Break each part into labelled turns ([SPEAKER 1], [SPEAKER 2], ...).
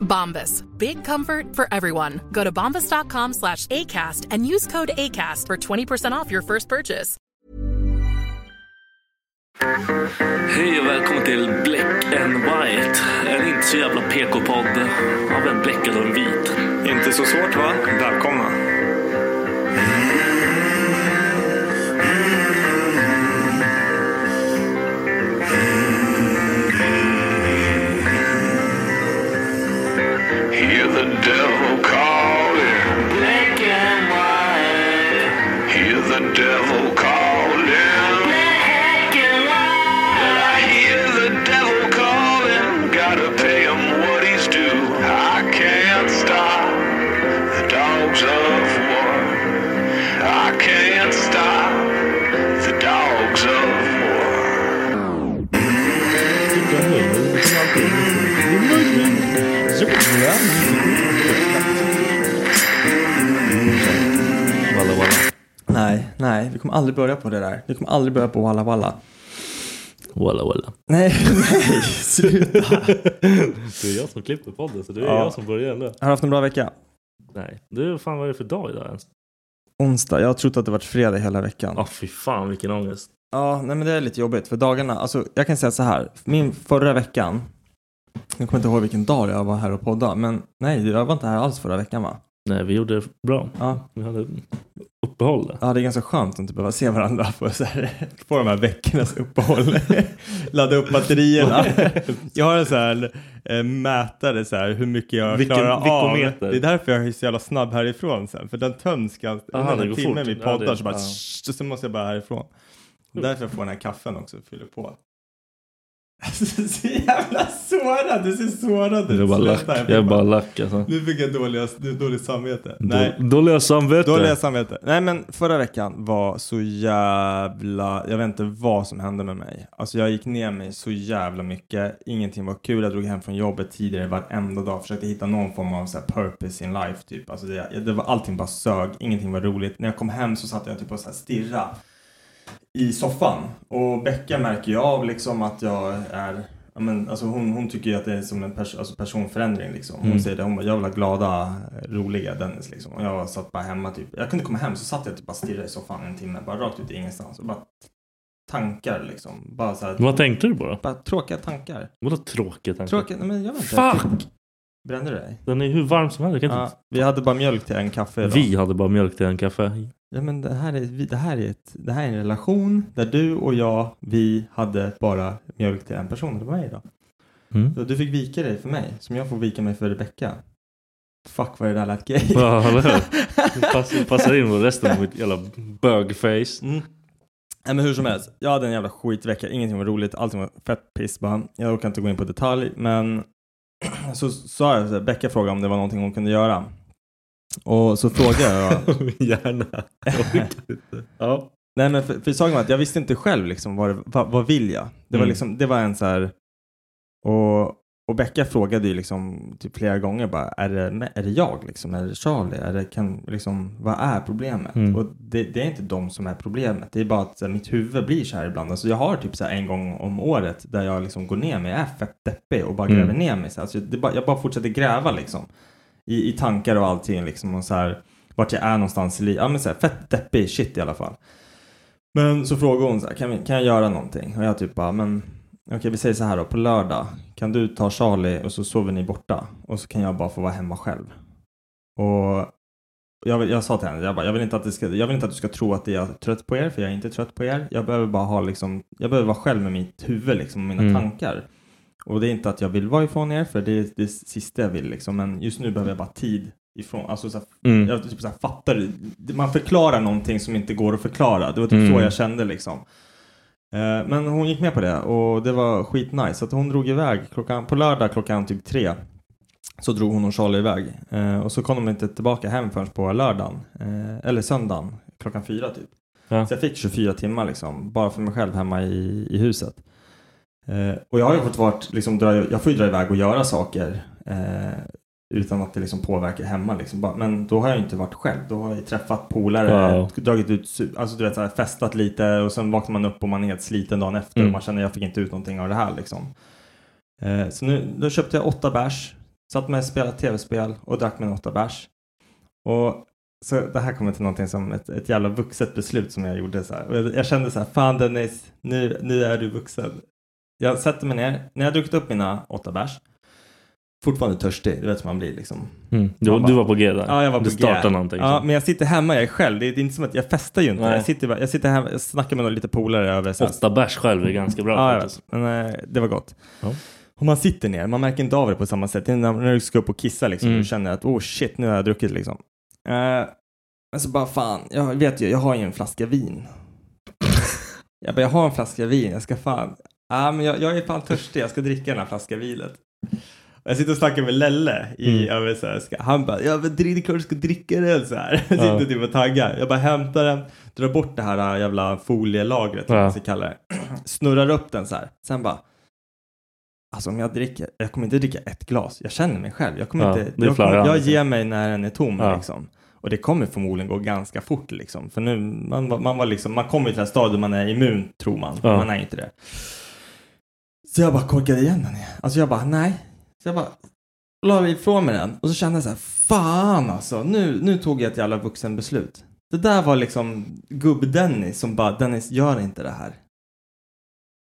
[SPEAKER 1] Bombas. Big comfort for everyone. Go to bombas.com slash ACAST and use code ACAST for 20% off your first purchase.
[SPEAKER 2] Hej och välkommen till Black and White. En inte så jävla PK-podd av en bläckad och en vit.
[SPEAKER 3] Inte så svårt va? Välkomna.
[SPEAKER 4] Hear the devil calling. Black and white. Hear the devil calling. Black and white. I hear the devil calling. Gotta pay him what he's due. I can't stop the dogs of war. I can't stop the dogs of war.
[SPEAKER 2] Walla walla.
[SPEAKER 5] Nej, nej, vi kommer aldrig börja på det där. Vi kommer aldrig börja på Walla Walla.
[SPEAKER 2] Walla walla.
[SPEAKER 5] Nej, nej, sluta.
[SPEAKER 2] Det är jag som klipper podden så det är
[SPEAKER 5] Ja.
[SPEAKER 2] jag som börjar ändå.
[SPEAKER 5] Har du haft en bra vecka?
[SPEAKER 2] Nej. Du, fan vad är det för dag idag ens?
[SPEAKER 5] Onsdag, jag har trott att det varit fredag hela veckan.
[SPEAKER 2] Ja, fy fan vilken ångest.
[SPEAKER 5] Ja, nej men det är lite jobbigt för dagarna, alltså jag kan säga så här, min förra veckan, jag kommer inte ihåg vilken dag jag var här och podda, men nej, jag var inte här alls förra veckan va?
[SPEAKER 2] Nej, vi gjorde det bra.
[SPEAKER 5] Ja,
[SPEAKER 2] Vi hade uppehåll där.
[SPEAKER 5] ja det är ganska skönt att inte behöva se varandra på, så här, på de här veckornas uppehåll. Ladda upp batterierna. Jag har en så här eh, mätare så här, hur mycket jag
[SPEAKER 2] Vilken-
[SPEAKER 5] klarar av.
[SPEAKER 2] veckometer?
[SPEAKER 5] Det är därför jag är så jävla snabb härifrån sen, för den töms ganska,
[SPEAKER 2] Aha,
[SPEAKER 5] under
[SPEAKER 2] det
[SPEAKER 5] en
[SPEAKER 2] går
[SPEAKER 5] timme
[SPEAKER 2] fort.
[SPEAKER 5] vi
[SPEAKER 2] Ja,
[SPEAKER 5] poddar
[SPEAKER 2] det-
[SPEAKER 5] så bara,
[SPEAKER 2] ja.
[SPEAKER 5] "Shh", så måste jag bara härifrån. Därför jag får den här kaffen också och fyller på. Alltså, så jävla sårad, du ser sårad
[SPEAKER 2] Jag är bara
[SPEAKER 5] Sluta,
[SPEAKER 2] lack.
[SPEAKER 5] jag
[SPEAKER 2] Jag
[SPEAKER 5] fick
[SPEAKER 2] är bara
[SPEAKER 5] bara-
[SPEAKER 2] lack alltså.
[SPEAKER 5] Nu fick jag dåliga, nu- dåligt samvete. Nej.
[SPEAKER 2] Då- Dåliga samvete.
[SPEAKER 5] Dåliga samvete. Nej men förra veckan var så jävla, jag vet inte vad som hände med mig. Alltså jag gick ner mig så jävla mycket, ingenting var kul, jag drog hem från jobbet tidigare varenda dag, försökte hitta någon form av så här, purpose in life typ. Alltså det, det var, allting bara sög, ingenting var roligt. När jag kom hem så satt jag typ och så här stirra i soffan och Becka märker ju av liksom att jag är Ja, men, alltså hon, hon tycker ju att det är som en pers- alltså personförändring liksom. Hon
[SPEAKER 2] Mm.
[SPEAKER 5] säger det, hon bara, jag vill ha glada, roliga Dennis liksom. Och jag satt bara hemma typ. Jag kunde komma hem så satt jag typ bara stirrade i soffan en timme, bara rakt ut i ingenstans. Och bara tankar liksom. Bara så här,
[SPEAKER 2] Vad tänkte du på då?
[SPEAKER 5] bara tråkiga tankar.
[SPEAKER 2] Vadå tråkigt? tänkte jag?
[SPEAKER 5] Tråkiga, nej men jag vet inte.
[SPEAKER 2] Fuck!
[SPEAKER 5] Brände du dig?
[SPEAKER 2] Den är hur varm som helst. Jag kan
[SPEAKER 5] Ja,
[SPEAKER 2] inte...
[SPEAKER 5] vi hade bara mjölk till en kaffe idag.
[SPEAKER 2] Vi hade bara mjölk till en kaffe.
[SPEAKER 5] Ja, men det, här är, vi- det, här är ett, det här är en relation där du och jag, vi hade bara mjölk till en person. och Det var mig då.
[SPEAKER 2] Mm.
[SPEAKER 5] Så Du fick vika dig för mig, som jag får vika mig för Rebecka. Fuck vad det där lät gay.
[SPEAKER 2] Ja, eller hur? Det passar- passar in med resten av mitt jävla bögface.
[SPEAKER 5] Mm. Nej men hur som helst, jag hade en jävla skitvecka, ingenting var roligt, allting var fett piss bara. Jag orkar inte gå in på detalj men så sa jag, så här, Becka frågade om det var någonting hon kunde göra.
[SPEAKER 4] Och så frågade jag.
[SPEAKER 6] Gärna. Jag orkar inte. Ja.
[SPEAKER 4] Nej men för, för saken var att jag visste inte själv liksom vad, det- vad, vad vill jag? Det var
[SPEAKER 6] Mm.
[SPEAKER 4] liksom, det var en så här. Och, och Becka frågade ju liksom typ flera gånger bara, är det, me- är det jag liksom? Är det Charlie? Är det, kan, liksom, vad är problemet?
[SPEAKER 6] Mm.
[SPEAKER 4] Och det, det är inte de som är problemet. Det är bara att så här, mitt huvud blir så här ibland. Alltså jag har typ så här en gång om året där jag liksom går ner mig, är fett deppig och bara
[SPEAKER 6] Mm.
[SPEAKER 4] gräver ner mig. Så här. Alltså, det är bara, jag bara fortsätter gräva liksom. I, i tankar och allting liksom. Och så här, vart jag är någonstans i livet. Ja men så här, fett deppig shit i alla fall. Men så frågade hon så här, kan, vi, kan jag göra någonting? Och jag typ bara, men okej vi säger så här då, på lördag kan du ta Charlie och så sover ni borta och så kan jag bara få vara hemma själv. Och jag, vill- jag sa till henne, jag, bara, jag, vill inte att det ska, jag vill inte att du ska tro att jag är trött på er, för jag är inte trött på er. Jag behöver bara ha liksom, jag behöver vara själv med mitt huvud liksom, och mina
[SPEAKER 6] Mm.
[SPEAKER 4] tankar. Och det är inte att jag vill vara ifrån er, för det är det sista jag vill liksom. Men just nu behöver jag bara tid ifrån, alltså så här,
[SPEAKER 6] Mm.
[SPEAKER 4] jag typ så här, fattar, man förklarar någonting som inte går att förklara. Det var typ
[SPEAKER 6] Mm.
[SPEAKER 4] så jag kände liksom. Eh, Men hon gick med på det och det var skitnice. Så att hon drog iväg klockan, på lördag klockan typ tre. Så drog hon och Charlie iväg. Eh, och så kom de inte tillbaka hem förrän på lördagen. Eh, eller söndagen klockan fyra typ.
[SPEAKER 6] Ja.
[SPEAKER 4] Så jag fick 24 timmar liksom. Bara för mig själv hemma i, i huset. Eh, och jag har ju fått varit, liksom, dra, jag får ju dra iväg och göra saker. Eh, utan att det liksom påverkar hemma liksom. Bara- Men då har jag ju inte varit själv. Då har jag ju träffat polare,
[SPEAKER 6] Wow.
[SPEAKER 4] dragit ut, su- alltså du vet så här, festat lite och sen vaknar man upp och man är helt sliten dagen efter
[SPEAKER 6] Mm.
[SPEAKER 4] och man känner jag fick inte ut någonting av det här liksom. Eh, så nu då köpte jag åtta bärs, satt mig och spelade tv-spel och drack mina åtta bärs. Och så det här kommer till någonting som ett, ett jävla vuxet beslut som jag gjorde så här. Och jag, jag kände så här, fan Dennis, nu, nu är du vuxen. Jag sätter mig ner, när jag har druckit upp mina åtta bärs, fortfarande törstig, du vet hur man blir liksom.
[SPEAKER 6] Mm. Du,
[SPEAKER 4] Man bara-
[SPEAKER 6] du var på G där.
[SPEAKER 4] Ja, jag var på
[SPEAKER 6] du startade
[SPEAKER 4] G.
[SPEAKER 6] någonting.
[SPEAKER 4] Ja,
[SPEAKER 6] så.
[SPEAKER 4] men jag sitter hemma, jag är själv. Det är inte som att jag festar ju inte.
[SPEAKER 6] Nej.
[SPEAKER 4] Jag sitter, bara- jag sitter hemma, jag snackar med några lite polare över. så här-
[SPEAKER 6] Åtta bärs själv är ganska bra
[SPEAKER 4] Ja, jag
[SPEAKER 6] faktiskt.
[SPEAKER 4] vet. men eh, det var gott.
[SPEAKER 6] Ja.
[SPEAKER 4] Och man sitter ner, man märker inte av det på samma sätt. Det är När, när du ska upp och kissa liksom,
[SPEAKER 6] Mm.
[SPEAKER 4] du känner att oh shit, nu har jag druckit liksom. Eh, men så bara fan, jag vet ju, jag har ju en flaska vin. jag bara, jag har en flaska vin, jag ska fan, ah, men jag, jag är fan törstig, jag ska dricka den här flaskan vinet. Och Jag sitter och snackar med Lelle i,
[SPEAKER 6] Mm.
[SPEAKER 4] över så här, ska, han bara, ja men det är klart du ska dricka den så här. Jag
[SPEAKER 6] Ja.
[SPEAKER 4] sitter typ och taggar. Jag bara hämtar den, drar bort det här äh, jävla folielagret,
[SPEAKER 6] Ja.
[SPEAKER 4] ja. man ska kalla det. Snurrar upp den så här. Sen bara, alltså om jag dricker, jag kommer inte dricka ett glas. Jag känner mig själv. Jag kommer
[SPEAKER 6] Ja,
[SPEAKER 4] inte,
[SPEAKER 6] det är
[SPEAKER 4] jag, kommer,
[SPEAKER 6] flera,
[SPEAKER 4] jag
[SPEAKER 6] liksom.
[SPEAKER 4] ger mig när den är tom
[SPEAKER 6] Ja.
[SPEAKER 4] liksom. Och det kommer förmodligen gå ganska fort liksom. För nu, man, var- man var liksom, man kommer till det här stadiet man är immun tror man.
[SPEAKER 6] Ja.
[SPEAKER 4] Man är inte det. Så jag bara korkade igen den igen. Alltså jag bara, nej. Så jag bara la ifrån mig den och så kände jag så här, fan alltså, nu, nu tog jag ett jävla vuxenbeslut. Det där var liksom gubb-Dennis som bara, Dennis gör inte det här.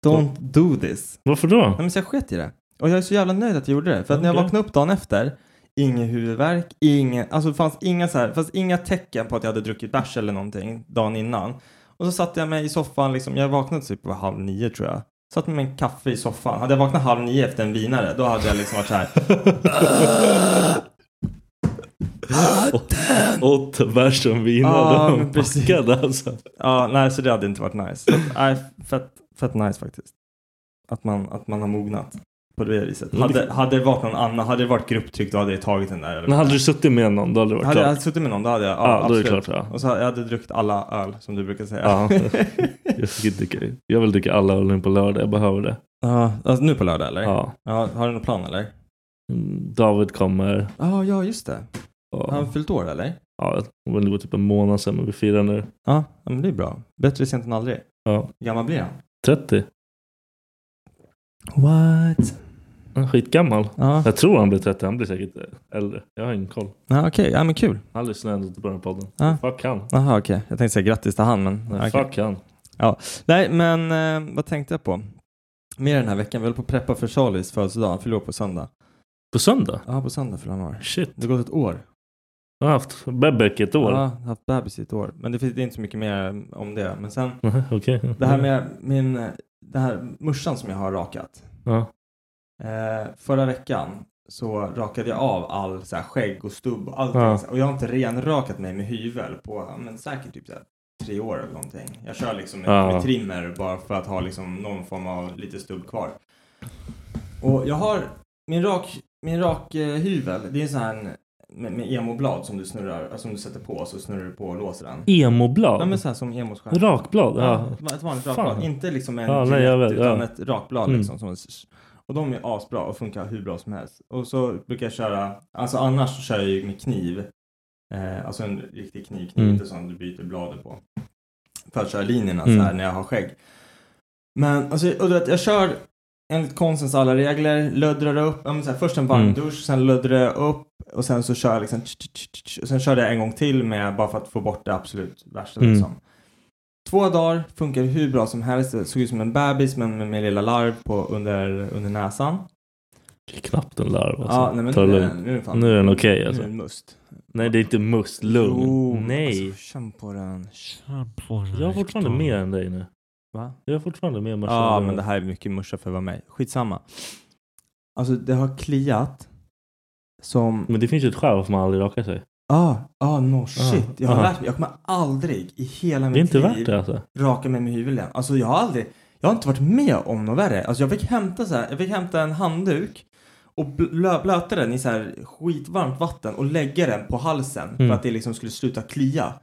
[SPEAKER 4] Don't do this.
[SPEAKER 6] Varför då?
[SPEAKER 4] Nej, men så jag sket i det. Och jag är så jävla nöjd att jag gjorde det. För att när jag
[SPEAKER 6] Okej.
[SPEAKER 4] vaknade upp dagen efter, ingen huvudvärk, ingen, alltså det fanns inga, så här, det fanns inga tecken på att jag hade druckit bärs eller någonting dagen innan. Och så satte jag mig i soffan, liksom, jag vaknade typ på halv nio tror jag. Satt med en kaffe i soffan. Hade jag vaknat halv nio efter en vinare, då hade jag liksom varit så här.
[SPEAKER 6] Åtta bärs som vinade.
[SPEAKER 4] Ja,
[SPEAKER 6] Ah,
[SPEAKER 4] men precis.
[SPEAKER 6] Packade alltså.
[SPEAKER 4] Ja, nej, så det hade inte varit nice. Så att, Nej, fett, fett nice faktiskt. Att man, att man har mognat på det viset.
[SPEAKER 6] Men det-
[SPEAKER 4] Hade, hade det varit någon annan, hade det varit grupptryck, då hade jag tagit den där.
[SPEAKER 6] Men hade du suttit med någon då hade det varit
[SPEAKER 4] Hade jag
[SPEAKER 6] klart.
[SPEAKER 4] hade suttit med någon, då hade jag, ja,
[SPEAKER 6] Ja, då är
[SPEAKER 4] absolut.
[SPEAKER 6] det klart. Ja.
[SPEAKER 4] Och så hade jag hade druckit alla öl, som du brukar säga.
[SPEAKER 6] Ja. Jag, ska dricka, jag vill dricka alla ölen på lördag. Jag behöver det.
[SPEAKER 4] Ja, alltså, nu på lördag eller?
[SPEAKER 6] Ja.
[SPEAKER 4] Ja, har du någon plan eller?
[SPEAKER 6] Mm, David kommer.
[SPEAKER 4] Ja, ja just det.
[SPEAKER 6] Och,
[SPEAKER 4] Har han fyllt år eller?
[SPEAKER 6] ja, det var typ en månad sedan, men vi firar nu.
[SPEAKER 4] Ja, ja, men det är bra. Bättre sent än aldrig.
[SPEAKER 6] Ja.
[SPEAKER 4] Hur gammal blir han?
[SPEAKER 6] 30.
[SPEAKER 4] What?
[SPEAKER 6] Han är skitgammal.
[SPEAKER 4] Ja,
[SPEAKER 6] Jag tror han blir 30. Han blir säkert eh, äldre. Jag har ingen koll.
[SPEAKER 4] ja okej. Ja, men kul.
[SPEAKER 6] Han lyssnar ändå till början av podden.
[SPEAKER 4] Ja.
[SPEAKER 6] Fuck han.
[SPEAKER 4] Jaha, okej. Jag tänkte säga grattis till han, men...
[SPEAKER 6] Nej,
[SPEAKER 4] okej.
[SPEAKER 6] Fuck han.
[SPEAKER 4] Nej, men eh, vad tänkte jag på? Mer den här veckan. Vi höll på att preppa för Charlies födelsedag. Han fyller år på söndag.
[SPEAKER 6] På söndag?
[SPEAKER 4] Ja, på söndag fyller han år.
[SPEAKER 6] Shit.
[SPEAKER 4] Det har gått ett år.
[SPEAKER 6] Jag har haft Bebek ett år.
[SPEAKER 4] Ja, han har haft bebis i ett år. Men det finns det är inte så mycket mer Ehm, om det. Men sen,
[SPEAKER 6] Nej, Okej.
[SPEAKER 4] det här med min, eh, det här morsan som jag har rakat.
[SPEAKER 6] Ja.
[SPEAKER 4] Eh, förra veckan så rakade jag av all så här, skägg och stubb och allting.
[SPEAKER 6] Ja.
[SPEAKER 4] Så här. Och jag har inte renrakat mig med hyvel på ja, men, säkert typ så här, tre år eller någonting. Jag kör liksom med,
[SPEAKER 6] Ja.
[SPEAKER 4] med trimmer bara för att ha liksom, någon form av lite stubb kvar. Och jag har min rak, min rak eh, hyvel, det är en sån här
[SPEAKER 5] med, med emoblad som du snurrar, alltså som du sätter på så snurrar du på och låser den.
[SPEAKER 4] Emoblad?
[SPEAKER 5] Ja men så här som emos stjärna.
[SPEAKER 4] Rakblad? Ja.
[SPEAKER 5] Ett vanligt
[SPEAKER 4] Fan.
[SPEAKER 5] rakblad, inte liksom en
[SPEAKER 4] Ja, nej, jag vet,
[SPEAKER 5] utan
[SPEAKER 4] ja.
[SPEAKER 5] ett rakblad
[SPEAKER 4] Mm.
[SPEAKER 5] liksom. Som, och de är asbra och funkar hur bra som helst. Och så brukar jag köra, alltså annars så kör jag ju med kniv. Eh, alltså en riktig kniv, kniv
[SPEAKER 4] Mm.
[SPEAKER 5] inte sån du byter bladet på. För att köra linjerna så här
[SPEAKER 4] Mm.
[SPEAKER 5] när jag har skägg. Men alltså, och du vet, jag kör enligt konstens alla regler, löddrar upp, ja, men så här, först en varm
[SPEAKER 4] Mm.
[SPEAKER 5] dusch, sen löddrar jag upp och sen så kör jag liksom tch, tch, tch, tch, och sen körde jag en gång till med bara för att få bort det absolut värsta
[SPEAKER 4] Mm.
[SPEAKER 5] liksom. Två dagar, funkar hur bra som helst, det såg ut som en bebis men med, med lilla larv på, under, under näsan.
[SPEAKER 4] Det är Knappt en larv alltså.
[SPEAKER 5] Ja, nej, men
[SPEAKER 4] Ta
[SPEAKER 5] nu är
[SPEAKER 4] det
[SPEAKER 5] den-
[SPEAKER 4] lugnt.
[SPEAKER 5] nu är den fan-
[SPEAKER 4] Nu är den okej
[SPEAKER 5] Nu är
[SPEAKER 4] alltså.
[SPEAKER 5] den must.
[SPEAKER 4] Nej det är inte must, lugn.
[SPEAKER 5] Jo,
[SPEAKER 4] Nej.
[SPEAKER 5] Alltså, känn på den.
[SPEAKER 4] jag har fortfarande mer än dig nu.
[SPEAKER 5] Va?
[SPEAKER 4] Jag har fortfarande mer musha.
[SPEAKER 5] Ja, men det här är mycket musha för att vara mig. Skitsamma. Alltså det har kliat som...
[SPEAKER 4] Men det finns ju ett skäl varför man aldrig rakar sig.
[SPEAKER 5] Ah, ah, no shit. jag har
[SPEAKER 4] ah.
[SPEAKER 5] lärt mig. Jag kommer aldrig i hela mitt
[SPEAKER 4] Det är inte
[SPEAKER 5] liv
[SPEAKER 4] värt det alltså.
[SPEAKER 5] raka mig med hyveln. Alltså jag har aldrig, jag har inte varit med om något värre. Alltså jag fick hämta så här, jag fick hämta en handduk och blö, blöta den i så här skitvarmt vatten och lägga den på halsen
[SPEAKER 4] Mm.
[SPEAKER 5] för att det liksom skulle sluta klia.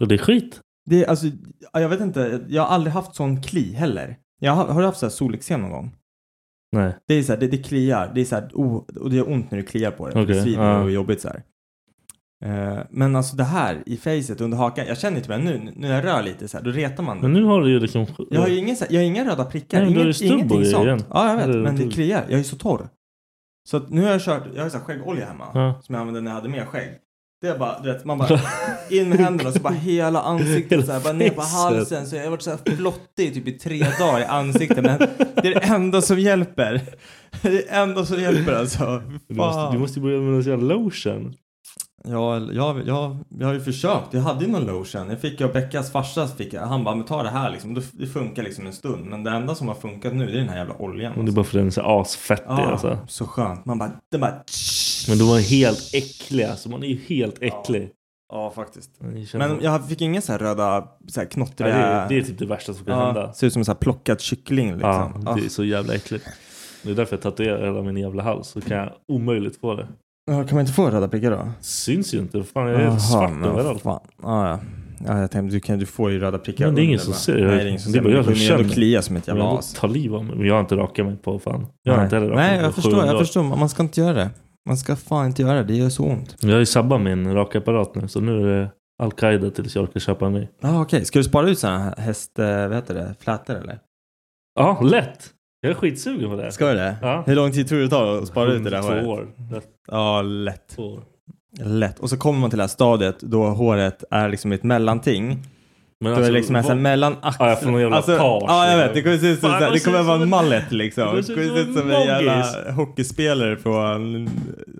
[SPEAKER 4] Och det är skit.
[SPEAKER 5] Det är alltså, ja, jag vet inte, jag har aldrig haft sån kli heller. Jag har, har du haft så här solexem någon gång?
[SPEAKER 4] Nej.
[SPEAKER 5] Det är så här, det, det kliar. Det är så här, oh, och det gör ont när du kliar på det. för Det
[SPEAKER 4] Okej,
[SPEAKER 5] svider
[SPEAKER 4] ja.
[SPEAKER 5] och är jobbigt så här. Eh, men alltså det här i facet under hakan, jag känner inte mig nu, nu när jag rör lite så här, då retar man det.
[SPEAKER 4] Men nu har du ju liksom...
[SPEAKER 5] Jag har ju ingen, så här- jag har inga röda prickar,
[SPEAKER 4] Nej, men då är
[SPEAKER 5] inget,
[SPEAKER 4] det stubb
[SPEAKER 5] ingenting
[SPEAKER 4] och grejer
[SPEAKER 5] sånt.
[SPEAKER 4] igen.
[SPEAKER 5] Ja, jag vet,
[SPEAKER 4] Eller
[SPEAKER 5] men det
[SPEAKER 4] du-
[SPEAKER 5] kliar. Jag är så torr. Så att nu har jag kört, jag har så här skäggolja hemma
[SPEAKER 4] Ja.
[SPEAKER 5] som jag använde när jag hade mer skägg. Det är bara, du vet, man bara in med händerna och så bara hela ansiktet
[SPEAKER 4] Hela
[SPEAKER 5] så här, bara ner på
[SPEAKER 4] facet.
[SPEAKER 5] halsen. Så jag har varit så här flottig typ i tre dagar i ansiktet. Men det är det enda som hjälper. Det är det enda som hjälper alltså.
[SPEAKER 4] Du måste, du måste ju börja med en sån här lotion.
[SPEAKER 5] Ja, jag, jag, jag har ju försökt. Jag hade ju någon lotion. Jag fick jag Beckas farsa. Fick jag. Han bara, men ta det här liksom. Det, det funkar liksom en stund. Men det enda som har funkat nu det är den här jävla oljan. alltså.
[SPEAKER 4] Och det är bara för att den är så asfettig
[SPEAKER 5] Ja,
[SPEAKER 4] alltså.
[SPEAKER 5] så skönt. Man bara, den bara...
[SPEAKER 4] Men de var helt äckliga. Alltså man är ju helt äcklig.
[SPEAKER 5] Ja, faktiskt.
[SPEAKER 4] Men jag känner-
[SPEAKER 5] Men jag fick inga så här röda, så här knottriga...
[SPEAKER 4] Ja, det, är, det är typ det värsta som kan
[SPEAKER 5] Ja,
[SPEAKER 4] hända.
[SPEAKER 5] Ser ut som en så här plockad kyckling liksom.
[SPEAKER 4] Ja, det är så jävla äckligt. Det är därför jag tatuerar hela min jävla hals. Så kan jag omöjligt få det.
[SPEAKER 5] Ja, Kan man inte få röda prickar då?
[SPEAKER 4] Syns ju inte. Fan, jag är helt svart
[SPEAKER 5] men
[SPEAKER 4] överallt.
[SPEAKER 5] Fan. Ja, ja. ja, jag tänkte du, kan, du får ju röda prickar
[SPEAKER 4] Men det är ingen
[SPEAKER 5] under,
[SPEAKER 4] som
[SPEAKER 5] va?
[SPEAKER 4] ser
[SPEAKER 5] Nej, det är ingen som ser.
[SPEAKER 4] bara
[SPEAKER 5] Men
[SPEAKER 4] jag
[SPEAKER 5] det
[SPEAKER 4] som
[SPEAKER 5] kommer ju
[SPEAKER 4] känner.
[SPEAKER 5] ändå klia som ett
[SPEAKER 4] Men
[SPEAKER 5] jävla
[SPEAKER 4] jag
[SPEAKER 5] as.
[SPEAKER 4] tar liv av mig. Men Jag har inte rakat mig på fan. Jag har
[SPEAKER 5] Nej.
[SPEAKER 4] inte heller rakat
[SPEAKER 5] Nej,
[SPEAKER 4] mig
[SPEAKER 5] jag
[SPEAKER 4] på
[SPEAKER 5] förstår.
[SPEAKER 4] 700
[SPEAKER 5] Jag
[SPEAKER 4] år.
[SPEAKER 5] förstår. Man ska inte göra det. Man ska fan inte göra det. Det gör så ont.
[SPEAKER 4] Jag har ju sabbat min rakapparat nu. Så nu är det al-Qaida tills jag orkar köpa en ny.
[SPEAKER 5] Ja, ah, okej. Ska du spara ut sådana här häst... eh, Vad heter det? Flätor eller?
[SPEAKER 4] Ja, lätt! Jag är skitsugen på det.
[SPEAKER 5] Ska du det?
[SPEAKER 4] Ja.
[SPEAKER 5] Hur lång tid tror du det tar att spara ut det där
[SPEAKER 4] Två
[SPEAKER 5] håret?
[SPEAKER 4] år. Lätt
[SPEAKER 5] Ja, lätt.
[SPEAKER 4] två år.
[SPEAKER 5] Lätt. Och så kommer man till det här stadiet då håret är liksom ett mellanting.
[SPEAKER 4] Men alltså,
[SPEAKER 5] då är det liksom här, så här
[SPEAKER 4] vad-
[SPEAKER 5] mellan
[SPEAKER 4] Ja, jag får
[SPEAKER 5] axlarna.
[SPEAKER 4] någon jävla page,
[SPEAKER 5] Alltså, ja, jag
[SPEAKER 4] liksom.
[SPEAKER 5] vet. Det kommer se ut som,
[SPEAKER 4] Fan,
[SPEAKER 5] så här- det
[SPEAKER 4] det
[SPEAKER 5] kommer
[SPEAKER 4] ser ut
[SPEAKER 5] vara
[SPEAKER 4] som
[SPEAKER 5] en
[SPEAKER 4] en-
[SPEAKER 5] mallet liksom.
[SPEAKER 4] det
[SPEAKER 5] Det
[SPEAKER 4] kommer se ut
[SPEAKER 5] kommer se ut
[SPEAKER 4] som
[SPEAKER 5] som
[SPEAKER 4] en
[SPEAKER 5] en jävla
[SPEAKER 4] loggis.
[SPEAKER 5] hockeyspelare från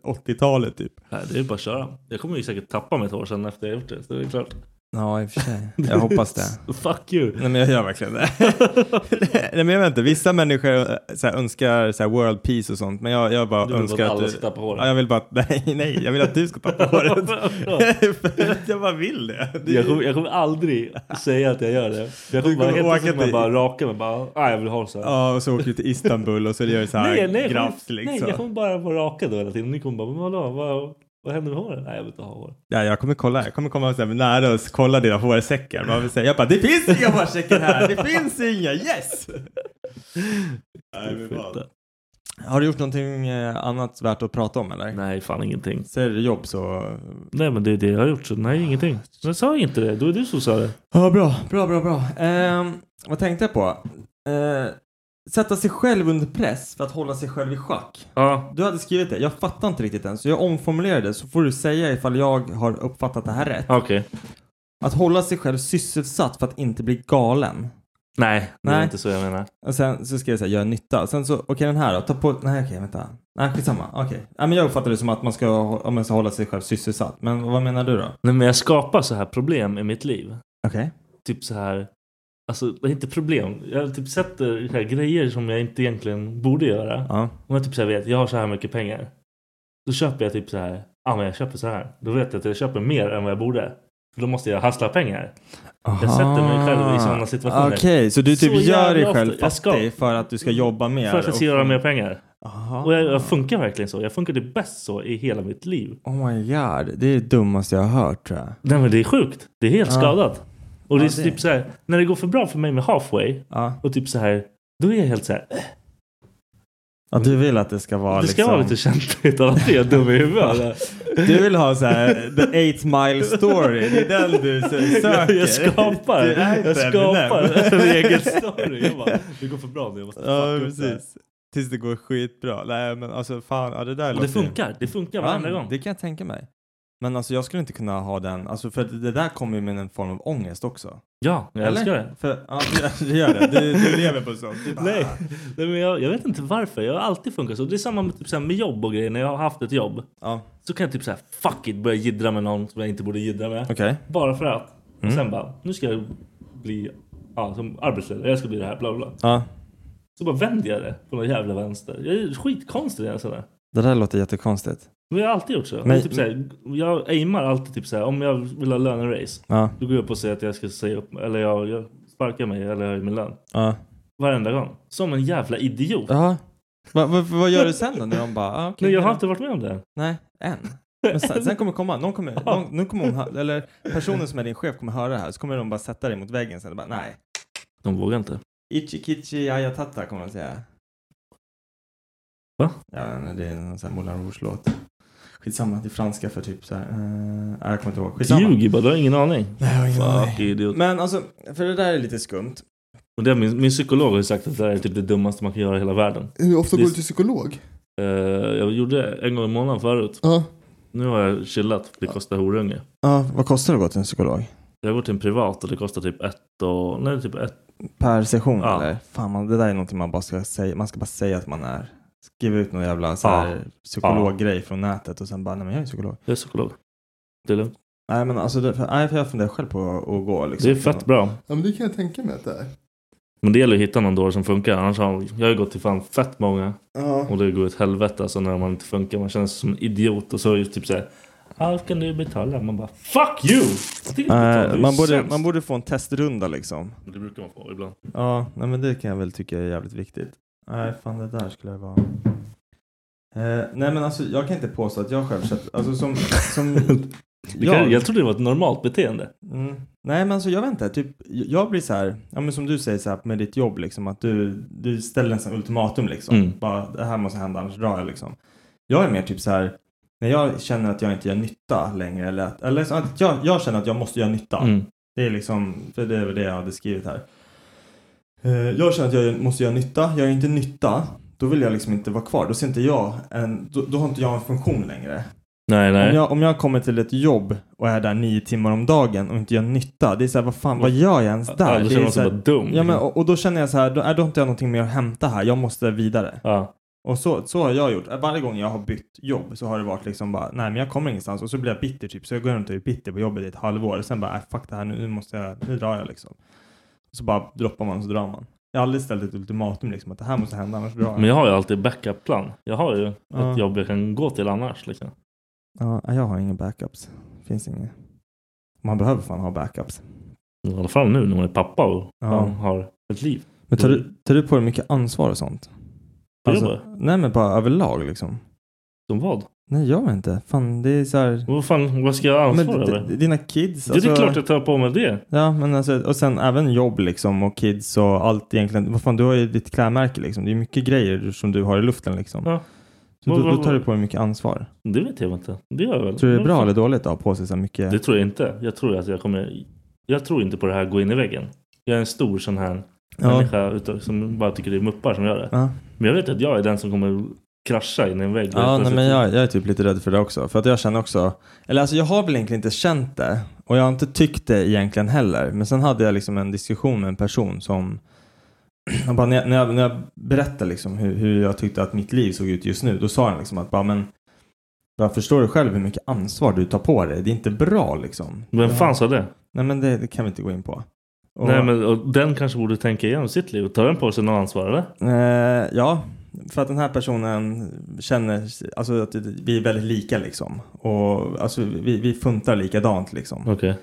[SPEAKER 5] 80-talet typ.
[SPEAKER 4] Nej, det är bara att köra. Jag kommer ju säkert tappa mitt hår sen efter jag gjort det. Så det är klart.
[SPEAKER 5] Ja, i och för sig. Jag hoppas det.
[SPEAKER 4] Fuck you!
[SPEAKER 5] Nej men jag gör verkligen det. Nej men jag vet inte, vissa människor eh, så här, önskar så här, world peace och sånt. Men jag, jag bara
[SPEAKER 4] Du vill
[SPEAKER 5] önskar
[SPEAKER 4] bara att
[SPEAKER 5] att
[SPEAKER 4] alla
[SPEAKER 5] du...
[SPEAKER 4] ska tappa håret.
[SPEAKER 5] Ja, jag vill bara att... Nej, nej, jag vill att du ska tappa håret. För att jag bara vill det. det
[SPEAKER 4] Jag kommer, jag kommer aldrig säga att jag gör det. För Jag kommer,
[SPEAKER 5] Du kommer
[SPEAKER 4] bara, helt
[SPEAKER 5] åka
[SPEAKER 4] plötsligt kommer jag
[SPEAKER 5] till-
[SPEAKER 4] bara raka mig. Bara, ah, jag vill ha det så här.
[SPEAKER 5] Ja, och så åker du till Istanbul och så gör du så här
[SPEAKER 4] nej, nej, jag kommer,
[SPEAKER 5] grafs liksom.
[SPEAKER 4] nej, jag kommer bara vara rakad då hela tiden. Ni kommer bara, men vadå? Vad, vad händer med håret? Nej, jag vill inte ha hår.
[SPEAKER 5] Ja, jag kommer kolla, jag kommer komma så här nära och kolla dina hårsäckar. Man vill säga, jag bara, det finns inga hårsäckar här, det finns inga, yes! Nej, men fan.
[SPEAKER 4] Skjuta.
[SPEAKER 5] Har du gjort någonting eh, annat värt att prata om eller?
[SPEAKER 4] Nej, fan ingenting.
[SPEAKER 5] Säger du jobb så...
[SPEAKER 4] Nej, men det är det jag har gjort. Så nej, ingenting. Men jag sa ju inte det. Då är du som sa det.
[SPEAKER 5] Ja, bra, bra, bra, bra. Ehm, vad tänkte jag på? Eh, sätta sig själv under press för att hålla sig själv i schack.
[SPEAKER 4] Ja,
[SPEAKER 5] Du hade skrivit det, jag fattar inte riktigt än, så jag omformulerade det så får du säga ifall jag har uppfattat det här rätt.
[SPEAKER 4] okej.
[SPEAKER 5] Att hålla sig själv sysselsatt för att inte bli galen.
[SPEAKER 4] Nej, det
[SPEAKER 5] Nej.
[SPEAKER 4] är inte så jag menar.
[SPEAKER 5] Och sen så skrev jag såhär, gör nytta. Sen så, okej den här då, ta på, nej okej vänta. Nej skitsamma, okej. Nej men jag uppfattar det som att man ska, om man ska hålla sig själv sysselsatt. Men vad menar du då?
[SPEAKER 4] Nej, men jag skapar så här problem i mitt liv.
[SPEAKER 5] Okej.
[SPEAKER 4] Typ så här. Alltså, det är inte problem. Jag typ sätter så här grejer som jag inte egentligen borde göra.
[SPEAKER 5] Ja.
[SPEAKER 4] Om jag typ så här vet, jag har så här mycket pengar. Då köper jag typ så här, ja men jag köper så här. Då vet jag att jag köper mer än vad jag borde. För då måste jag hassla pengar. Jag sätter mig själv i sådana situationer.
[SPEAKER 5] Okej, så du typ
[SPEAKER 4] Så
[SPEAKER 5] gör dig
[SPEAKER 4] jävla
[SPEAKER 5] själv
[SPEAKER 4] ofta. Jag ska-
[SPEAKER 5] fattig för att du ska jobba mer?
[SPEAKER 4] För att jag ska
[SPEAKER 5] och-
[SPEAKER 4] göra mer pengar.
[SPEAKER 2] Aha.
[SPEAKER 4] Och jag, jag funkar verkligen så. Jag funkar det bäst så i hela mitt liv.
[SPEAKER 2] Oh my god, det är det dummaste jag har hört tror jag.
[SPEAKER 4] Nej men det är sjukt. Det är helt
[SPEAKER 2] Ja.
[SPEAKER 4] skadat. Och
[SPEAKER 2] Ja,
[SPEAKER 4] det är
[SPEAKER 2] det-
[SPEAKER 4] typ så här, när det går för bra för mig med halfway och typ så här, då är jag helt så här, "Eh,
[SPEAKER 2] Ja, du vill att det ska vara
[SPEAKER 4] det ska vara lite kämpigt annars är jag dum i huvudet. eller?
[SPEAKER 2] Du vill ha så här the eight mile story. Det är den du så- söker.
[SPEAKER 4] Jag skapar,
[SPEAKER 2] Du är
[SPEAKER 4] jag
[SPEAKER 2] inte
[SPEAKER 4] skapar
[SPEAKER 2] Eminem.
[SPEAKER 4] en egen story. Jag bara, det går för bra nu. Jag måste fucka
[SPEAKER 2] Ja,
[SPEAKER 4] upp det här."
[SPEAKER 2] precis. Tills det går skitbra. Nej, men alltså fan, ja, det där
[SPEAKER 4] Och det
[SPEAKER 2] låter ju-
[SPEAKER 4] funkar, det funkar
[SPEAKER 2] Ja,
[SPEAKER 4] varenda gång.
[SPEAKER 2] Det kan jag tänka mig. Men alltså jag skulle inte kunna ha den, alltså för det där kommer ju med en form av ångest också.
[SPEAKER 4] Ja, jag
[SPEAKER 2] Eller?
[SPEAKER 4] älskar det.
[SPEAKER 2] För, ja, det- det gör det. Du, du lever på sånt. Du bara,
[SPEAKER 4] Nej, nej men jag, jag vet inte varför. Jag har alltid funkat så. Det är samma med, typ, så här, med jobb och grejer. När jag har haft ett jobb
[SPEAKER 2] Ja.
[SPEAKER 4] så kan jag typ så här, fuck it, börja jiddra med någon som jag inte borde jiddra med.
[SPEAKER 2] Okej.
[SPEAKER 4] Bara för att.
[SPEAKER 2] Mm.
[SPEAKER 4] Och sen bara, nu ska jag bli ja, som arbetsledare. Jag ska bli det här, bla bla. bla.
[SPEAKER 2] Ja,
[SPEAKER 4] Så bara vänder jag det på någon jävla vänster. Jag är skitkonstig när jag är sådär.
[SPEAKER 2] det där låter jättekonstigt.
[SPEAKER 4] Men jag har alltid gjort så.
[SPEAKER 2] Men-
[SPEAKER 4] jag, typ såhär, jag aimar alltid typ såhär, om jag vill ha lönerace.
[SPEAKER 2] Ja.
[SPEAKER 4] Då går jag upp och säger att jag ska säga upp mig, eller jag, jag sparkar mig eller höjer min lön.
[SPEAKER 2] Ja.
[SPEAKER 4] Varenda gång. Som en jävla idiot.
[SPEAKER 2] Ja. Va, va, vad gör du sen då när de bara, ah, okej.
[SPEAKER 4] Nej, jag har
[SPEAKER 2] hej då."
[SPEAKER 4] inte varit med om det.
[SPEAKER 2] Nej, än. Men sen, sen kommer komma, någon kommer,
[SPEAKER 4] Ja.
[SPEAKER 2] någon, nu kommer hon, ha- eller personen som är din chef kommer höra det här, så kommer de bara sätta dig mot väggen sen och bara, nej.
[SPEAKER 4] De vågar inte.
[SPEAKER 2] Ichi kichi ayatata kommer de säga.
[SPEAKER 4] Va?
[SPEAKER 2] Ja, men det är någon sån här Moulin Rouge-låt. Skitsamma, det är franska för typ så här. eh, nej, jag kommer inte ihåg. Skitsamma.
[SPEAKER 4] Ljuger bara, du har ingen aning.
[SPEAKER 2] Nej, jag har ingen aning.
[SPEAKER 4] Fuck idiot.
[SPEAKER 2] Men alltså, för det där är lite skumt.
[SPEAKER 4] Och det, min, min psykolog har ju sagt att det där är typ det dummaste man kan göra i hela världen.
[SPEAKER 7] Hur ofta
[SPEAKER 4] Det-
[SPEAKER 7] går du till psykolog?
[SPEAKER 4] Eh, jag gjorde det en gång i månaden förut.
[SPEAKER 7] Ja.
[SPEAKER 4] Nu har jag chillat, för det kostar horunge.
[SPEAKER 2] Ja, vad kostar det att gå till en psykolog?
[SPEAKER 4] Jag går till en privat och det kostar typ ett och... Nej, typ ett.
[SPEAKER 2] Per session
[SPEAKER 4] Ja.
[SPEAKER 2] eller? Fan, man, det där är någonting man bara ska säga. Man ska bara säga att man är. Skriv ut någon jävla så här,
[SPEAKER 4] Ja.
[SPEAKER 2] psykologgrej från nätet och sen bara, nej men jag är psykolog.
[SPEAKER 4] Jag är psykolog. Det är lugnt.
[SPEAKER 2] Nej men alltså, det, för, nej, för jag funderar själv på att, att gå liksom.
[SPEAKER 4] Det är fett bra.
[SPEAKER 7] Ja, men det kan jag tänka mig att det är.
[SPEAKER 4] Men det gäller att hitta någon då som funkar. Annars har jag har ju gått till fan fett många.
[SPEAKER 7] Ja.
[SPEAKER 4] Och det går ett helvete alltså när man inte funkar. Man känns som en idiot. Och så är det typ såhär. Allt kan du betala. Man bara fuck you! Jag tänker inte betala, du är
[SPEAKER 2] Nej, man, borde,
[SPEAKER 4] sämst.
[SPEAKER 2] man borde få en testrunda liksom.
[SPEAKER 4] Men Det brukar man få ibland.
[SPEAKER 2] Ja, nej, men det kan jag väl tycka är jävligt viktigt. Nej, fan det där skulle jag vara. Eh, nej men alltså jag kan inte påstå att jag själv sett, alltså som, som
[SPEAKER 4] Det kan, jag trodde det var ett normalt beteende.
[SPEAKER 2] Mm. Nej men alltså jag vet inte, typ, jag blir så här, ja, men som du säger så här, med ditt jobb liksom att du, du ställer en sån ultimatum liksom.
[SPEAKER 4] Mm.
[SPEAKER 2] Bara det här måste hända annars drar jag liksom. Jag är mer typ så här, när jag känner att jag inte gör nytta längre eller att, eller så att jag, jag känner att jag måste göra nytta.
[SPEAKER 4] Mm.
[SPEAKER 2] Det är liksom, för det är väl det jag hade skrivit här. Eh, Jag känner att jag måste göra nytta. Gör jag inte nytta, då vill jag liksom inte vara kvar. Då ser inte jag en, då, då har inte jag en funktion längre.
[SPEAKER 4] Nej, nej.
[SPEAKER 2] Om jag, om jag kommer till ett jobb och är där nio timmar om dagen och inte gör nytta, det är så här, vad fan, vad gör jag ens där?
[SPEAKER 4] Ja, då
[SPEAKER 2] Det
[SPEAKER 4] känner
[SPEAKER 2] är
[SPEAKER 4] man
[SPEAKER 2] så
[SPEAKER 4] sig
[SPEAKER 2] här,
[SPEAKER 4] bara dum. liksom.
[SPEAKER 2] Ja, men, och, och då känner jag så här, då, är, då har inte jag någonting mer att hämta här, jag måste vidare.
[SPEAKER 4] Ja.
[SPEAKER 2] Och så, så har jag gjort. Äh, Varje gång jag har bytt jobb så har det varit liksom bara, nej men jag kommer ingenstans. Och så blir jag bitter typ, så jag går runt och är bitter på jobbet i ett halvår. Sen bara, nej fuck det här nu, nu måste jag, nu drar jag liksom. Så bara droppar man och så drar man. Jag har aldrig ställt ett ultimatum liksom att det här måste hända annars drar jag.
[SPEAKER 4] Men jag har ju alltid backup-plan. Jag har ju
[SPEAKER 2] Ja.
[SPEAKER 4] ett jobb jag kan gå till annars. Liksom.
[SPEAKER 2] Ja, jag har inga backups. Finns inga. Man behöver fan ha backups.
[SPEAKER 4] I alla fall nu när man är pappa och
[SPEAKER 2] Ja.
[SPEAKER 4] man har ett liv.
[SPEAKER 2] Men tar du, tar du på dig mycket ansvar och sånt? Alltså,
[SPEAKER 4] På
[SPEAKER 2] nej men bara överlag liksom.
[SPEAKER 4] Som vad?
[SPEAKER 2] Nej jag vet inte. Fan det är så här.
[SPEAKER 4] Vad fan, vad ska jag
[SPEAKER 2] Men
[SPEAKER 4] ansvara
[SPEAKER 2] d-
[SPEAKER 4] över?
[SPEAKER 2] d- dina kids. alltså-
[SPEAKER 4] Ja, det är klart jag tar på mig det.
[SPEAKER 2] Ja men alltså och sen även jobb liksom och kids och allt egentligen. Vad fan du har ju ditt klädmärke liksom. Det är mycket grejer som du har i luften liksom.
[SPEAKER 4] Ja.
[SPEAKER 2] Så
[SPEAKER 4] Vad-
[SPEAKER 2] då, då
[SPEAKER 4] vad-
[SPEAKER 2] tar du på dig mycket ansvar.
[SPEAKER 4] Det vet jag inte. Det gör jag väl.
[SPEAKER 2] Tror du det är bra
[SPEAKER 4] Men-
[SPEAKER 2] eller dåligt att ha på sig så här mycket?
[SPEAKER 4] Det tror jag inte. Jag tror att jag kommer... Jag tror inte på det här gå in i väggen. Jag är en stor sån här
[SPEAKER 2] Ja.
[SPEAKER 4] människa utav, som bara tycker det är muppar som gör det.
[SPEAKER 2] Ja.
[SPEAKER 4] Men jag vet att jag är den som kommer krascha in i en vägg.
[SPEAKER 2] Ja, nej, men jag, jag är typ lite rädd för det också. För att jag känner också, eller alltså jag har väl egentligen inte känt det. Och jag har inte tyckt det egentligen heller. Men sen hade jag liksom en diskussion med en person som, han bara, när, jag, när, jag, när jag berättade liksom hur, hur jag tyckte att mitt liv såg ut just nu. Då sa han liksom att bara, men, bara förstår du själv hur mycket ansvar du tar på dig? Det är inte bra liksom.
[SPEAKER 4] Vem fan sa det?
[SPEAKER 2] Nej men det, det kan vi inte gå in på. Och-
[SPEAKER 4] Nej, men och den kanske borde tänka igenom sitt liv. Tar den på sig något ansvar eller?
[SPEAKER 2] Eh, ja, för att den här personen känner alltså, att vi är väldigt lika liksom. Och alltså, vi, vi funtar likadant liksom.
[SPEAKER 4] Okej.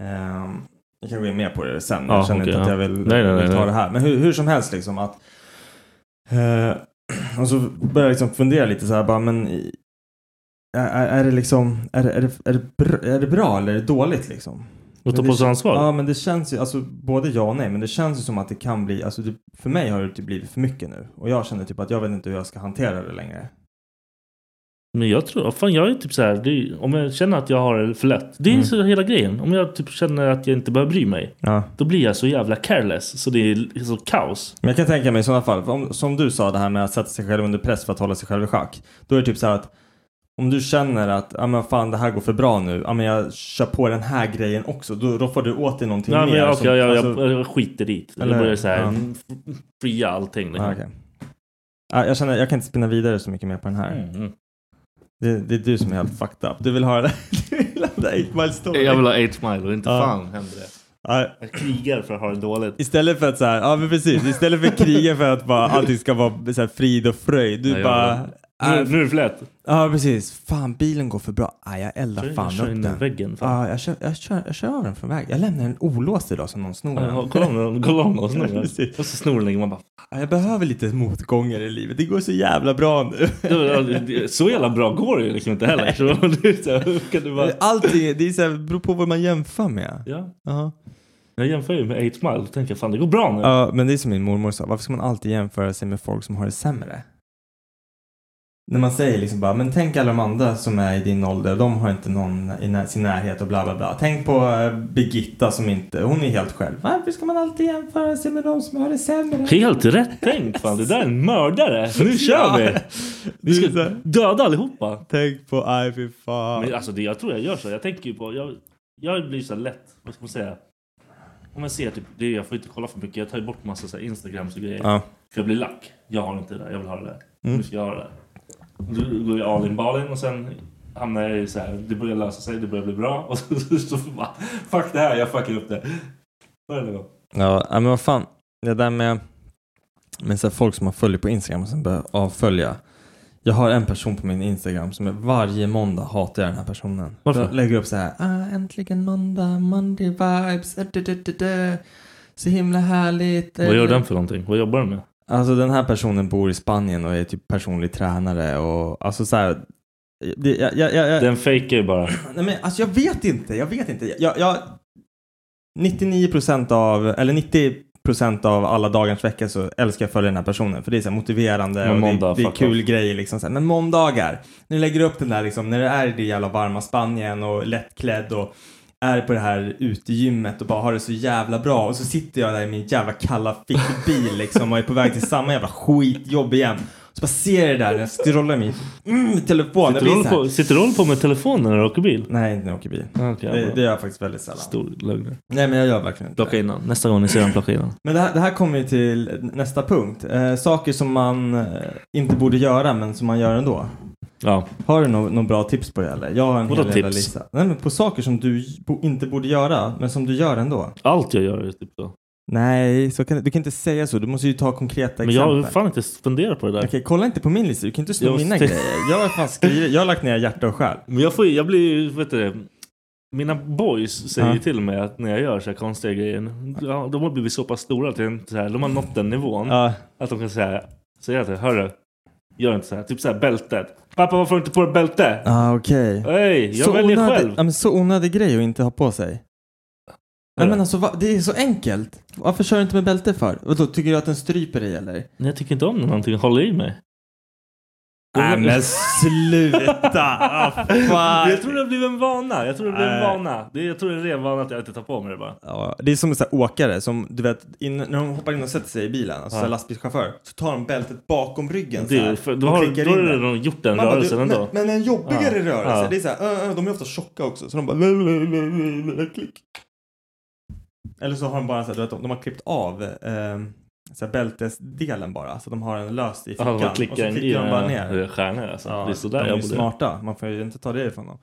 [SPEAKER 2] Ehm, jag kan gå in mer på det sen.
[SPEAKER 4] Ja,
[SPEAKER 2] jag känner
[SPEAKER 4] okej,
[SPEAKER 2] inte att
[SPEAKER 4] ja.
[SPEAKER 2] jag vill,
[SPEAKER 4] Nej, nej,
[SPEAKER 2] vill
[SPEAKER 4] nej,
[SPEAKER 2] ta
[SPEAKER 4] nej.
[SPEAKER 2] det här. Men hur, hur som helst liksom att eh, Och så började jag liksom fundera lite så här bara, men i- är, är är det liksom, är det, är, det, är, det br- är det bra eller är det dåligt liksom?
[SPEAKER 5] Och ta
[SPEAKER 2] Men
[SPEAKER 5] på
[SPEAKER 2] det
[SPEAKER 5] sig
[SPEAKER 2] kän-
[SPEAKER 5] ansvar?
[SPEAKER 2] Ja, men det känns ju, alltså både ja och nej, men det känns ju som att det kan bli, alltså det, för mig har det typ blivit för mycket nu. Och jag känner typ att jag vet inte hur jag ska hantera det längre.
[SPEAKER 5] Men jag tror, fan jag är typ så här, det är, om jag känner att jag har det för lätt. Det är
[SPEAKER 2] Mm.
[SPEAKER 5] så hela grejen. Om jag typ känner att jag inte behöver bry mig.
[SPEAKER 2] Ja.
[SPEAKER 5] Då blir jag så jävla careless. Så det är så kaos.
[SPEAKER 2] Men jag kan tänka mig i sådana fall, om, som du sa det här med att sätta sig själv under press för att hålla sig själv i schack. Då är det typ så här att om du känner att ja men fan det här går för bra nu, ja men jag kör på den här grejen också. Då, då får du åt dig någonting
[SPEAKER 5] Nej,
[SPEAKER 2] mer.
[SPEAKER 5] men jag,
[SPEAKER 2] som-
[SPEAKER 5] jag, jag,
[SPEAKER 2] alltså-
[SPEAKER 5] jag, jag skiter i det.
[SPEAKER 2] Eller-
[SPEAKER 5] Jag börjar så här,
[SPEAKER 2] ja.
[SPEAKER 5] f- fria allting. Liksom.
[SPEAKER 2] Ah, okej. Ah, jag känner, jag kan inte spinna vidare så mycket mer på den här.
[SPEAKER 5] Mm.
[SPEAKER 2] Det, det är du som är helt fucked up. Du vill ha det du vill ha det 8 mile story.
[SPEAKER 5] Jag vill ha 8 mile och inte
[SPEAKER 2] Ja.
[SPEAKER 5] fan händer det.
[SPEAKER 2] Ja,
[SPEAKER 5] Jag krigar för att ha det dåligt.
[SPEAKER 2] istället för att så här, ja men precis, istället för kriga för att bara allting ska vara så här frid och fröjd. Du
[SPEAKER 5] Nej, jag-
[SPEAKER 2] bara...
[SPEAKER 5] Nu,
[SPEAKER 2] ah,
[SPEAKER 5] nu är det för lätt.
[SPEAKER 2] Ja, precis. Fan, bilen går för bra. Ah, jag eldar
[SPEAKER 5] Kör-
[SPEAKER 2] fan
[SPEAKER 5] kör in
[SPEAKER 2] upp
[SPEAKER 5] i
[SPEAKER 2] den.
[SPEAKER 5] väggen, fan.
[SPEAKER 2] Ja, jag, kör, jag, kör, jag kör av den från vägen. Jag lämnar den olåst idag som någon snor
[SPEAKER 5] Ja,
[SPEAKER 2] den.
[SPEAKER 5] ja, kolla om någon- kolla om någon snor den.
[SPEAKER 2] Precis.
[SPEAKER 5] Och så snor den ligger man bara.
[SPEAKER 2] Ja, jag behöver lite motgångar i livet. Det går så jävla bra nu.
[SPEAKER 5] Ja, det- det- Så jävla bra går det ju liksom inte heller. Så det är så här, hur kan du bara...
[SPEAKER 2] Allting, det är så här, beror på vad man jämför med.
[SPEAKER 5] Ja.
[SPEAKER 2] Ja.
[SPEAKER 5] Jag jämför ju med 8 mile och tänker jag, fan det går bra nu.
[SPEAKER 2] Ja, men det är som min mormor sa, varför ska man alltid jämföra sig med folk som har det sämre? När man säger liksom bara, men tänk alla de andra som är i din ålder, de har inte någon i när- sin närhet och bla bla bla. Tänk på eh, Birgitta som inte, hon är helt själv. Varför ska man alltid jämföra sig med de som har det sämre?
[SPEAKER 5] Helt rätt tänkt fan, det där är en mördare. Nu kör vi!
[SPEAKER 2] Ja.
[SPEAKER 5] Vi
[SPEAKER 2] Det är så
[SPEAKER 5] ska
[SPEAKER 2] här,
[SPEAKER 5] döda allihopa.
[SPEAKER 2] Tänk på, aj fy fan.
[SPEAKER 5] Men alltså det, jag tror jag gör så. Jag tänker ju på... Jag, jag blir så här lätt, vad ska man säga? Om jag ser typ, det, är- jag får inte kolla för mycket. Jag tar ju bort massa så här Instagrams och grejer.
[SPEAKER 2] Ja.
[SPEAKER 5] För jag blir lack. Jag har inte det där, jag vill ha det där.
[SPEAKER 2] Mm.
[SPEAKER 5] Nu ska jag ha det där. Då går jag all in balin och sen hamnar jag i så här, det börjar lösa sig, det börjar bli bra. Och så, så, så bara, fuck det här, jag fuckar upp det. Varje gång.
[SPEAKER 2] Ja, ja, men vad fan. Det där med, med så här folk som man följer på Instagram och sen börjar avfölja. Jag har en person på min Instagram som är varje måndag hatar jag den här personen.
[SPEAKER 5] Varför?
[SPEAKER 2] Jag lägger upp så här. Ah, äntligen måndag, Monday vibes. eh, du, du, du, du. Så himla härligt. eh."
[SPEAKER 5] Vad gör den för någonting? Vad jobbar den med?
[SPEAKER 2] Alltså den här personen bor i Spanien och är typ personlig tränare och alltså så här. Det, jag, jag, jag, jag,
[SPEAKER 5] Den fejkar ju bara.
[SPEAKER 2] Nej, men alltså jag vet inte, jag vet inte. Jag, jag, 99% av, eller 90% av alla dagens vecka så älskar jag följa den här personen. För det är så här motiverande
[SPEAKER 5] Men
[SPEAKER 2] och
[SPEAKER 5] måndag,
[SPEAKER 2] det, det är
[SPEAKER 5] fuck
[SPEAKER 2] kul
[SPEAKER 5] off.
[SPEAKER 2] grejer liksom. Så här, men måndagar, när du lägger upp den där liksom, när du är i det jävla varma Spanien och lättklädd och är på det här utegymmet och bara har det så jävla bra och så sitter jag där i min jävla kalla fickbil liksom och är på väg till samma jävla skitjobb igen. Så bara ser jag det där när jag scrollar i min mm, telefon. Jag
[SPEAKER 5] Sitter du
[SPEAKER 2] blir
[SPEAKER 5] håller
[SPEAKER 2] så här,
[SPEAKER 5] på, sitter du håller på med telefonen när du åker bil?
[SPEAKER 2] Nej, inte när jag åker bil.
[SPEAKER 5] Okej,
[SPEAKER 2] Det,
[SPEAKER 5] bra.
[SPEAKER 2] det gör jag faktiskt väldigt sällan.
[SPEAKER 5] Stor lögn.
[SPEAKER 2] Nej men jag gör verkligen inte
[SPEAKER 5] Plocka
[SPEAKER 2] det.
[SPEAKER 5] innan. Nästa gång ni ser den, plocka innan.
[SPEAKER 2] Men det här, det här kommer ju till nästa punkt. Eh, saker som man eh, inte borde göra men som man gör ändå.
[SPEAKER 5] Ja.
[SPEAKER 2] Har du någon, någon bra tips på det eller? Jag har en
[SPEAKER 5] Vadå
[SPEAKER 2] hel jävla
[SPEAKER 5] tips?
[SPEAKER 2] lista. Nej men på saker som du bo, inte borde göra men som du gör ändå.
[SPEAKER 5] Allt jag gör är typ så.
[SPEAKER 2] Nej, så kan, du kan inte säga så. Du måste ju ta konkreta
[SPEAKER 5] Men jag
[SPEAKER 2] exempel.
[SPEAKER 5] har fan inte funderat på det där.
[SPEAKER 2] Okej, kolla inte på min lista. Du kan inte
[SPEAKER 5] Jag
[SPEAKER 2] sno mina
[SPEAKER 5] måste-
[SPEAKER 2] grejer. Jag har fan skrivit. Jag har lagt ner hjärta och själ.
[SPEAKER 5] Men jag, får, ju- jag blir ju, vet du det, Mina boys säger
[SPEAKER 2] Ja.
[SPEAKER 5] ju till mig att när jag gör så här konstiga grejer. Ja, de har blivit så pass stora till en- så här, de har nått den nivån.
[SPEAKER 2] Ja,
[SPEAKER 5] Att de kan säga, säga till hörru. Gör inte så här. Typ så här bältet. Pappa varför har du inte på dig bälte?
[SPEAKER 2] ah, okej.
[SPEAKER 5] Hej, jag
[SPEAKER 2] så
[SPEAKER 5] väljer
[SPEAKER 2] onödig,
[SPEAKER 5] själv.
[SPEAKER 2] Ja, men så onödig grej att inte ha på sig. Nej,
[SPEAKER 5] Eller?
[SPEAKER 2] men alltså, va, det är så enkelt. Varför kör du inte med bälte för? Och då tycker du att den stryper dig eller?
[SPEAKER 5] Nej, jag tycker inte om när någonting håller i mig.
[SPEAKER 2] Nej men sluta! Ah, fan.
[SPEAKER 5] Jag tror det har blivit en vana. Jag tror det har blivit en
[SPEAKER 2] Nej.
[SPEAKER 5] vana. Det, jag tror det är en ren vana att jag inte tar på mig det bara.
[SPEAKER 2] Ja, det är som en sån här åkare som du vet, in, när de hoppar in och sätter sig i bilen, alltså
[SPEAKER 5] Ja.
[SPEAKER 2] så här lastbilschaufför, så tar de bältet bakom ryggen
[SPEAKER 5] Det,
[SPEAKER 2] så här,
[SPEAKER 5] är- för, då
[SPEAKER 2] och
[SPEAKER 5] har,
[SPEAKER 2] klickar
[SPEAKER 5] då
[SPEAKER 2] in
[SPEAKER 5] har
[SPEAKER 2] den.
[SPEAKER 5] de gjort den
[SPEAKER 2] Man bara,
[SPEAKER 5] rörelsen
[SPEAKER 2] du,
[SPEAKER 5] ändå.
[SPEAKER 2] Men, men en jobbigare
[SPEAKER 5] Ja.
[SPEAKER 2] rörelse,
[SPEAKER 5] Ja.
[SPEAKER 2] det är så här, "Ö, ö", de är ofta tjocka också, så de bara la, la, la, la, la, klick. Eller så har de bara så här, du vet, de, de har klippt av eh, så här bältesdelen bara, så de har den löst i fickan.
[SPEAKER 5] Ja, man klickar
[SPEAKER 2] och så
[SPEAKER 5] en
[SPEAKER 2] klickar de bara ner.
[SPEAKER 5] Det är stjärnor alltså.
[SPEAKER 2] Ja,
[SPEAKER 5] det är sådär
[SPEAKER 2] de är
[SPEAKER 5] jag
[SPEAKER 2] ju
[SPEAKER 5] borde...
[SPEAKER 2] smarta, man får ju inte ta det ifrån dem.